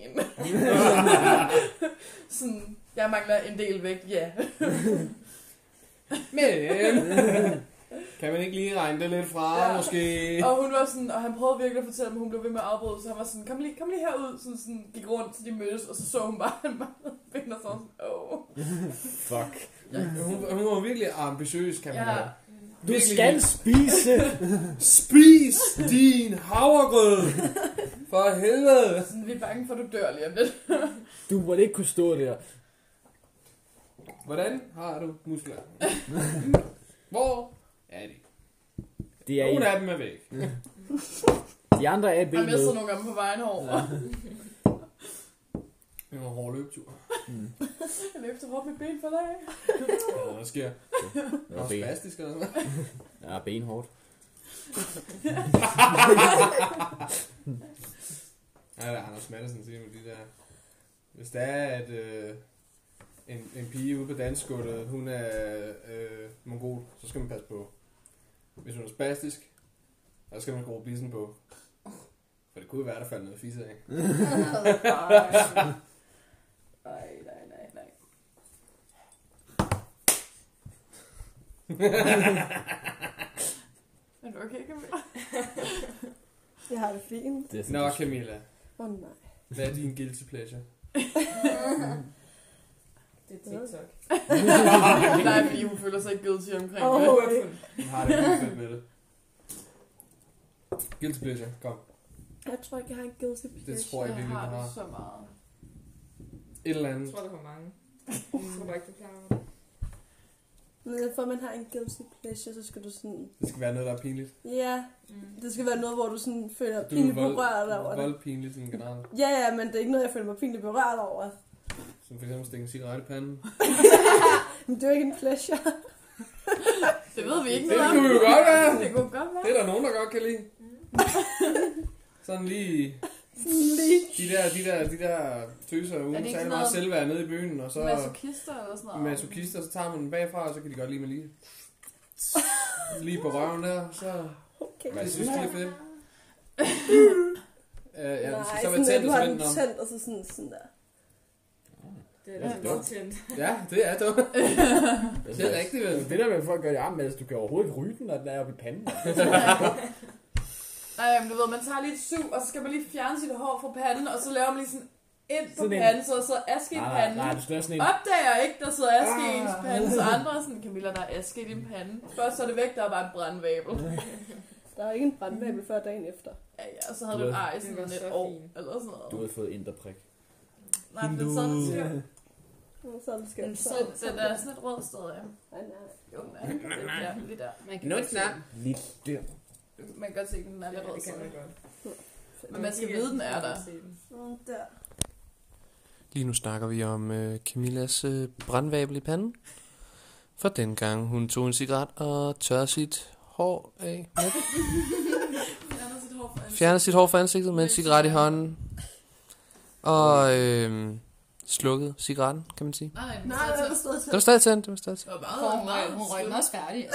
Speaker 1: sådan, jeg mangler en del vægt, ja.
Speaker 4: Men... Kan man ikke lige regne det lidt fra,
Speaker 1: Ja.
Speaker 4: ja. måske?
Speaker 1: Og hun var sådan, og han prøvede virkelig at fortælle dem, hun blev ved med at afbryde, så han var sådan, kom lige, kom lige herud, sådan, sådan, gik rundt, så de mødtes, og så så hun bare, han manglede et ben, og så var hun sådan, åh. Oh.
Speaker 6: Fuck.
Speaker 4: Hun, hun var virkelig ambitiøs, kan man
Speaker 1: Ja.
Speaker 4: ja.
Speaker 6: Du skal spise!
Speaker 4: Spis din havregrød! For helvede!
Speaker 1: Sådan, vi er bange for, at du dør lige om lidt.
Speaker 6: Du må ikke kunne stå der.
Speaker 4: Hvordan har du muskler? Hvor er de?
Speaker 6: Det er en,
Speaker 4: Nogle af dem er væk.
Speaker 6: de andre er i
Speaker 1: Jeg
Speaker 6: benet.
Speaker 1: mistede nogle gange på vejen over.
Speaker 4: Det var en hård løbetur.
Speaker 6: Mm.
Speaker 1: Jeg løb så hårdt med ben
Speaker 4: <laughs>
Speaker 1: for dig.
Speaker 4: Ja, der sker.
Speaker 6: Det
Speaker 4: Nå,
Speaker 6: var ben.
Speaker 4: spastisk eller sådan
Speaker 6: Ja, benhårdt.
Speaker 4: Ja, det er Anders Madsen siger med de der... Hvis det er, at øh, en, en pige ude på dansgulvet, hun er øh, mongol, så skal man passe på. Hvis hun er spastisk, så skal man skrue bissen på. For det kunne jo være, der faldt noget fisse af.
Speaker 6: Altså,
Speaker 1: Nej, nej, nej,
Speaker 4: <laughs>
Speaker 1: nej. Er du okay, Camilla?
Speaker 5: Jeg har det fint.
Speaker 6: Det er sådan,
Speaker 4: Nå, Camilla.
Speaker 5: Åh oh, nej.
Speaker 4: Hvad er din guilty pleasure?
Speaker 8: Det er TikTok.
Speaker 1: <laughs> nej, fordi hun føler sig ikke guilty omkring
Speaker 5: Åh.
Speaker 1: det.
Speaker 8: Okay.
Speaker 4: Hun har det ikke fedt med det. Guilty pleasure, kom.
Speaker 5: Jeg tror ikke, jeg har en guilty pleasure.
Speaker 4: Det tror jeg
Speaker 1: Jeg
Speaker 4: virkelig, du
Speaker 1: har det
Speaker 4: har.
Speaker 1: så meget. Mm.
Speaker 4: Et eller
Speaker 8: Jeg
Speaker 4: andet.
Speaker 8: tror, der var mange. Jeg tror bare ikke, du er klar over det.
Speaker 5: Men for at man har en guilty pleasure, så skal du sådan...
Speaker 4: Det skal være noget, der er pinligt.
Speaker 5: Ja,
Speaker 8: Mm.
Speaker 5: det skal være noget, hvor du sådan føler dig
Speaker 4: Du er
Speaker 5: pinligt
Speaker 4: vold,
Speaker 5: berørt over det.
Speaker 4: voldpinlig sådan generelt.
Speaker 5: Ja, ja, men det er ikke noget, jeg føler mig pinligt berørt over.
Speaker 4: Som for eksempel at stikke en cigaret i panden.
Speaker 5: Men det er jo ikke en pleasure. <laughs>
Speaker 1: Det ved vi ikke
Speaker 4: Det
Speaker 1: noget om.
Speaker 4: kunne jo godt være.
Speaker 1: <laughs> Det kunne godt være.
Speaker 4: Det er der nogen, der godt kan <laughs> lide. Sådan lige
Speaker 5: Lige.
Speaker 4: de der, de der, de der tøser
Speaker 1: Er
Speaker 4: uden
Speaker 1: det ikke
Speaker 4: særlig
Speaker 1: sådan
Speaker 4: meget
Speaker 1: noget-
Speaker 4: selvværd nede i byen, og så
Speaker 1: Masochister eller sådan noget.
Speaker 4: masochister, så tager man den bagfra, og så kan de godt lide med lige, lige på røven der, så
Speaker 5: Okay.
Speaker 4: jeg synes, det er
Speaker 1: <laughs>
Speaker 4: fedt. Uh, ja,
Speaker 5: Nej,
Speaker 4: det skal så være
Speaker 5: sådan at
Speaker 4: tændt,
Speaker 5: du
Speaker 4: og
Speaker 5: har
Speaker 4: så
Speaker 5: den
Speaker 4: vende den om.
Speaker 5: tændt, og så sådan, sådan der.
Speaker 8: Det er lidt
Speaker 6: Ja.
Speaker 8: meget tændt.
Speaker 4: Ja, det er <laughs> dumt. Det er rigtigt, vel?
Speaker 6: Det der med, at folk gør det armen, altså, du kan overhovedet ikke ryge den, når den er oppe i panden.
Speaker 1: Nej, men du ved, man tager lige et sug, og så skal man lige fjerne sit hår fra panden, og så laver man lige sådan ind på
Speaker 6: Sådan en-
Speaker 1: panden, så der sidder aske i
Speaker 6: nej, nej,
Speaker 1: panden.
Speaker 6: nej, du skal lave sådan en...
Speaker 1: Opdager ikke, der sidder aske i ens
Speaker 6: Ah.
Speaker 1: pande, så andre er sådan, Camilla, der er aske i din pande. Først så er det væk, der er bare en brandvabel.
Speaker 5: Der er ikke en brandmabel før dagen efter.
Speaker 1: Ja, ja, og så havde du et ar i
Speaker 8: Det var
Speaker 1: sådan et
Speaker 8: så
Speaker 1: år,
Speaker 8: fint.
Speaker 1: eller sådan noget.
Speaker 6: Du har fået indre
Speaker 1: Nej, men så er det skævt.
Speaker 5: Og Så er det skævt.
Speaker 1: Så den er sådan et rød sted, ja.
Speaker 5: Nej, nej.
Speaker 1: Jo, den er lidt der, lidt der.
Speaker 7: Man
Speaker 4: Nå, snap.
Speaker 6: Lidt der.
Speaker 1: Man kan godt se, at den er lidt rød
Speaker 8: det kan
Speaker 1: sted.
Speaker 8: man godt.
Speaker 1: Men man skal vide, den er der.
Speaker 5: Sådan der.
Speaker 4: Lige nu snakker vi om øh, Camillas øh, brandvabel i panden. For dengang hun tog en cigaret og tørrede sit hår af. med-
Speaker 1: Fjerner sit hår fra ansigtet.
Speaker 4: Fjernede sit hår fra ansigtet med en cigaret i hånden. Og øh, slukkede cigaretten, kan man sige.
Speaker 7: Nej,
Speaker 1: Nej, det er stadig
Speaker 4: Den var stadig tændt, den var stadig
Speaker 1: Det var meget,
Speaker 7: Hun
Speaker 1: meget,
Speaker 7: røg,
Speaker 1: meget
Speaker 7: hun røg den også færdig.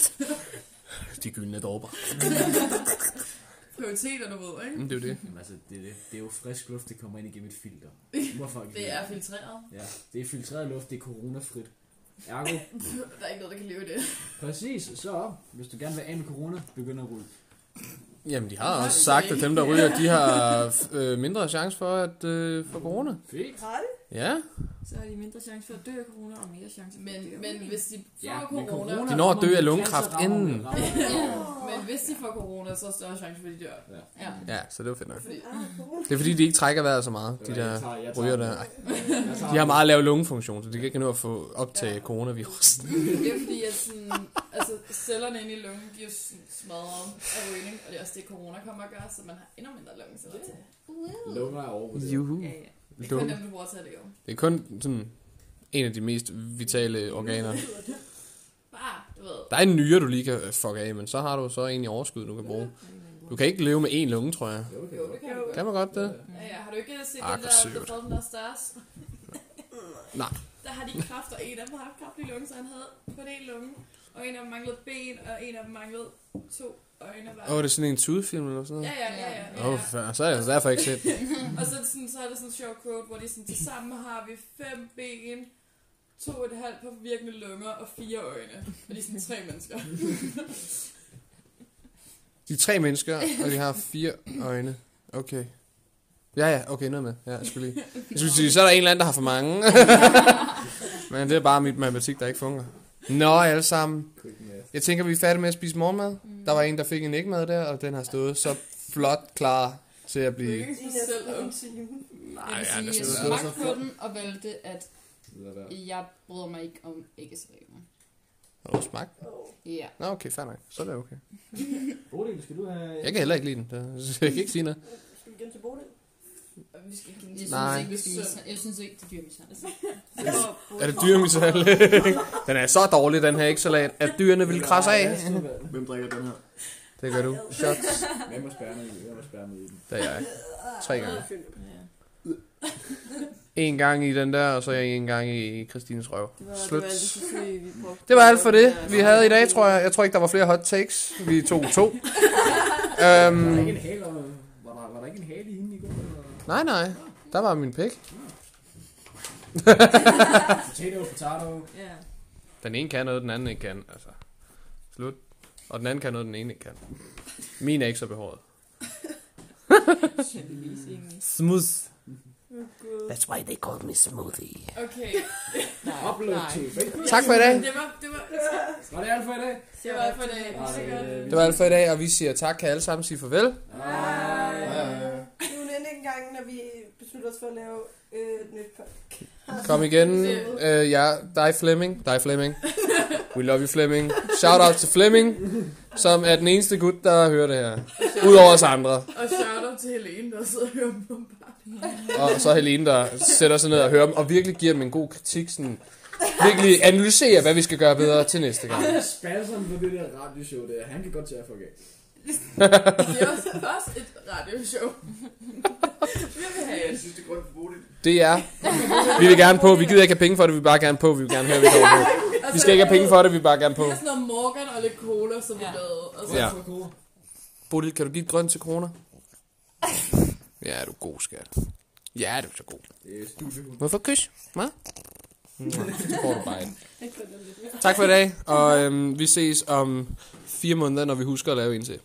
Speaker 4: tændt. De gyldne dråber.
Speaker 1: Prioriteter, du ved, ikke?
Speaker 4: Mm, det er jo det.
Speaker 6: Jamen, altså, det, er det, det er jo frisk luft, det kommer ind igennem et filter. Hvorfor ikke?
Speaker 1: Det er filtreret.
Speaker 6: Ja, det er filtreret luft, det er coronafrit. Ergo,
Speaker 1: Der er ikke noget, der kan leve i det.
Speaker 6: præcis, så hvis du gerne vil af med corona, begynder at rulle.
Speaker 4: Jamen, de har også sagt, at dem, der ryger, de har øh, mindre chance for at øh, få corona.
Speaker 6: Fedt.
Speaker 4: Ja,
Speaker 8: Så har de mindre chance for at dø af corona, og mere chance for
Speaker 1: Men,
Speaker 8: at dø af
Speaker 1: men
Speaker 8: corona.
Speaker 1: hvis de får
Speaker 6: Ja, men
Speaker 1: corona, corona.
Speaker 4: De når at dø af
Speaker 6: kommer
Speaker 4: lungekræft
Speaker 6: cancer, rammer,
Speaker 4: inden.
Speaker 6: rammer.
Speaker 1: men hvis de får corona, så er der større chance for, at de dør.
Speaker 6: Ja.
Speaker 1: ja.
Speaker 4: ja, så det var fedt nok.
Speaker 1: Fordi, Ah,
Speaker 4: Det er fordi, de ikke trækker vejret så meget, de der
Speaker 6: Jeg tager- jeg tager-
Speaker 4: ryger der. Ej,
Speaker 6: jeg tager-
Speaker 4: De har meget lav lungefunktion, så de kan ikke nå at få optage
Speaker 1: Ja.
Speaker 4: coronavirus.
Speaker 1: det er fordi, at sådan, altså, cellerne inde i lungen, de er jo sådan smadret af rygning, og det er også det, corona kommer at gøre, så man har endnu mindre lungeceller til.
Speaker 6: Lunger er overvurderet.
Speaker 4: Juhu.
Speaker 8: Ja, ja.
Speaker 1: Det er kun
Speaker 4: Lung.
Speaker 1: dem, du bruger til at leve.
Speaker 4: Det er kun sådan en af de mest vitale organer.
Speaker 1: Bare, du ved.
Speaker 4: Der er en nyre, du lige kan øh, fuck af, men så har du så egentlig overskud, du kan bruge. Du kan ikke leve med én lunge, tror jeg.
Speaker 6: Jo, det
Speaker 1: Jo,
Speaker 6: er
Speaker 1: det
Speaker 6: godt.
Speaker 1: kan du godt.
Speaker 4: Kan man godt det?
Speaker 1: Ja, ja. Har du ikke øh, set
Speaker 4: Ah,
Speaker 1: den der,
Speaker 4: for
Speaker 1: der
Speaker 4: sødt.
Speaker 1: fået den der stars?
Speaker 4: <laughs> Nej.
Speaker 1: Der har de kræft, og en af dem har haft kræft i lungen, så han havde kun en lunge. Og en af dem manglede ben, og en af dem manglede to øjne. Bare.
Speaker 4: Åh, oh, det er sådan en tudefilm eller sådan
Speaker 1: Ja,
Speaker 4: noget?
Speaker 1: ja, ja. ja, ja.
Speaker 4: Åh, oh, så er jeg altså derfor ikke set den.
Speaker 1: Og så er, det sådan, så er der sådan en sjov quote, hvor de sådan, til sammen har vi fem ben, to og et halvt på virkende lunger og fire øjne. Og de er sådan tre mennesker.
Speaker 4: De er tre mennesker, og de har fire øjne. Okay. Ja, ja, okay, noget med. Ja, jeg skulle lige. Jeg skulle sige, så er der en eller anden, der har for mange. <laughs> Men det er bare mit matematik, der ikke fungerer. Nå, alle sammen. Jeg tænker, vi er færdige med at spise morgenmad. Der var en, der fik en ægmad der, og den har stået så flot klar til at blive...
Speaker 1: Lykkes
Speaker 5: I
Speaker 1: med
Speaker 5: næsten
Speaker 1: selv om.
Speaker 5: en time.
Speaker 4: Nej,
Speaker 7: Jeg vil
Speaker 4: ja,
Speaker 7: sige,
Speaker 4: det
Speaker 7: jeg
Speaker 4: er
Speaker 7: smagte på den og valgte, at
Speaker 6: Lad være.
Speaker 7: jeg bryder mig ikke om æggeserier.
Speaker 4: Har du smagt?
Speaker 7: Ja.
Speaker 4: Nå, okay, fair nok. Så er det okay.
Speaker 6: Bodil, skal du have...
Speaker 4: <laughs> Jeg kan heller ikke lide den. så Jeg kan ikke sige noget.
Speaker 5: Skal vi igen til Bodil?
Speaker 8: vi skal give den
Speaker 7: Jeg synes
Speaker 3: Nej.
Speaker 7: ikke, vi skal mishandle. Jeg synes ikke, det er dyrmishandling.
Speaker 4: Er det dyremisal? <laughs> den er så dårlig, den her ægsalat, at dyrene vil krasse af.
Speaker 3: Hvem drikker den her?
Speaker 4: Det gør du. Shots.
Speaker 6: Hvem må spærre med i Hvem må spærre med i den?
Speaker 4: Det er jeg. Tre gange.
Speaker 7: Ja.
Speaker 4: En gang i den der, og så en gang i Kristines røv.
Speaker 8: Det var, det
Speaker 4: Slut.
Speaker 8: var alt det forsøg, vi brugte.
Speaker 4: Det var alt for det, vi havde i dag, tror jeg. Jeg tror ikke, der var flere hot takes. Vi tog to.
Speaker 6: Var der
Speaker 4: Øhm,
Speaker 6: ikke en hale, om- var der, var der ikke en hale i hende i går? Eller?
Speaker 4: nej, nej. Der var min pik.
Speaker 6: Potato, potato.
Speaker 8: Ja.
Speaker 4: Den ene kan noget, den anden ikke kan. Altså, slut. Og den anden kan noget, den ene ikke kan. Min er ikke så behåret.
Speaker 8: Heldigvis egentlig.
Speaker 4: Smooth.
Speaker 8: Gud.
Speaker 2: That's why they called me smoothie.
Speaker 8: Okay.
Speaker 6: Upload to Facebook.
Speaker 4: Tak for i dag.
Speaker 8: Det var, det var,
Speaker 6: Var det alt for i dag?
Speaker 8: det var alt for det.
Speaker 6: Nej,
Speaker 8: Så godt.
Speaker 6: øh, vi-
Speaker 4: Det var alt for i dag, og vi siger tak. Kan alle sammen sige farvel?
Speaker 5: Det er jo den ene gang, når vi beslutter os for at lave øh, et nyt podcast.
Speaker 4: Kom igen. Øh, ja, dig Flemming. Dig Flemming. We love you Flemming. Shout out til Flemming, som er den eneste gut, der hører det her. Udover os andre.
Speaker 1: Og shout-out til Helene, der sidder og hører på
Speaker 4: Og så Helene, der sætter sig ned og hører dem, og virkelig giver dem en god kritik. Sådan, virkelig analyserer, hvad vi skal gøre bedre til næste gang.
Speaker 6: Spasseren på det der radioshow der, han kan godt tage at fuck af.
Speaker 1: Det er også først et
Speaker 7: <laughs>
Speaker 1: radioshow. Vi vil have
Speaker 3: Jeg synes, det er godt for det.
Speaker 4: Det er. Vi vil gerne på. Vi gider ikke have penge for det, vi vil bare gerne på. Vi vil gerne høre, hvad vi kommer på. Vi skal ikke have penge for det, vi vil bare gerne på.
Speaker 1: Det er Altså, sådan noget Morgan og lidt cola, som vi
Speaker 7: Ja.
Speaker 1: lavede. Og så
Speaker 4: Ja.
Speaker 6: Fuck over.
Speaker 4: Bodil, kan du give et grønt til kroner? Ja, er du god, skat. Ja, er du så god.
Speaker 6: Det er studiehund.
Speaker 4: Hvorfor kys? Hvad?
Speaker 6: Mm,
Speaker 4: Nå, <laughs> så får du bare en. Tak for i dag, og øhm, vi ses om fire måneder, når vi husker at lave en til.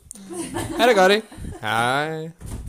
Speaker 4: Ha' det godt, ikke? Hej.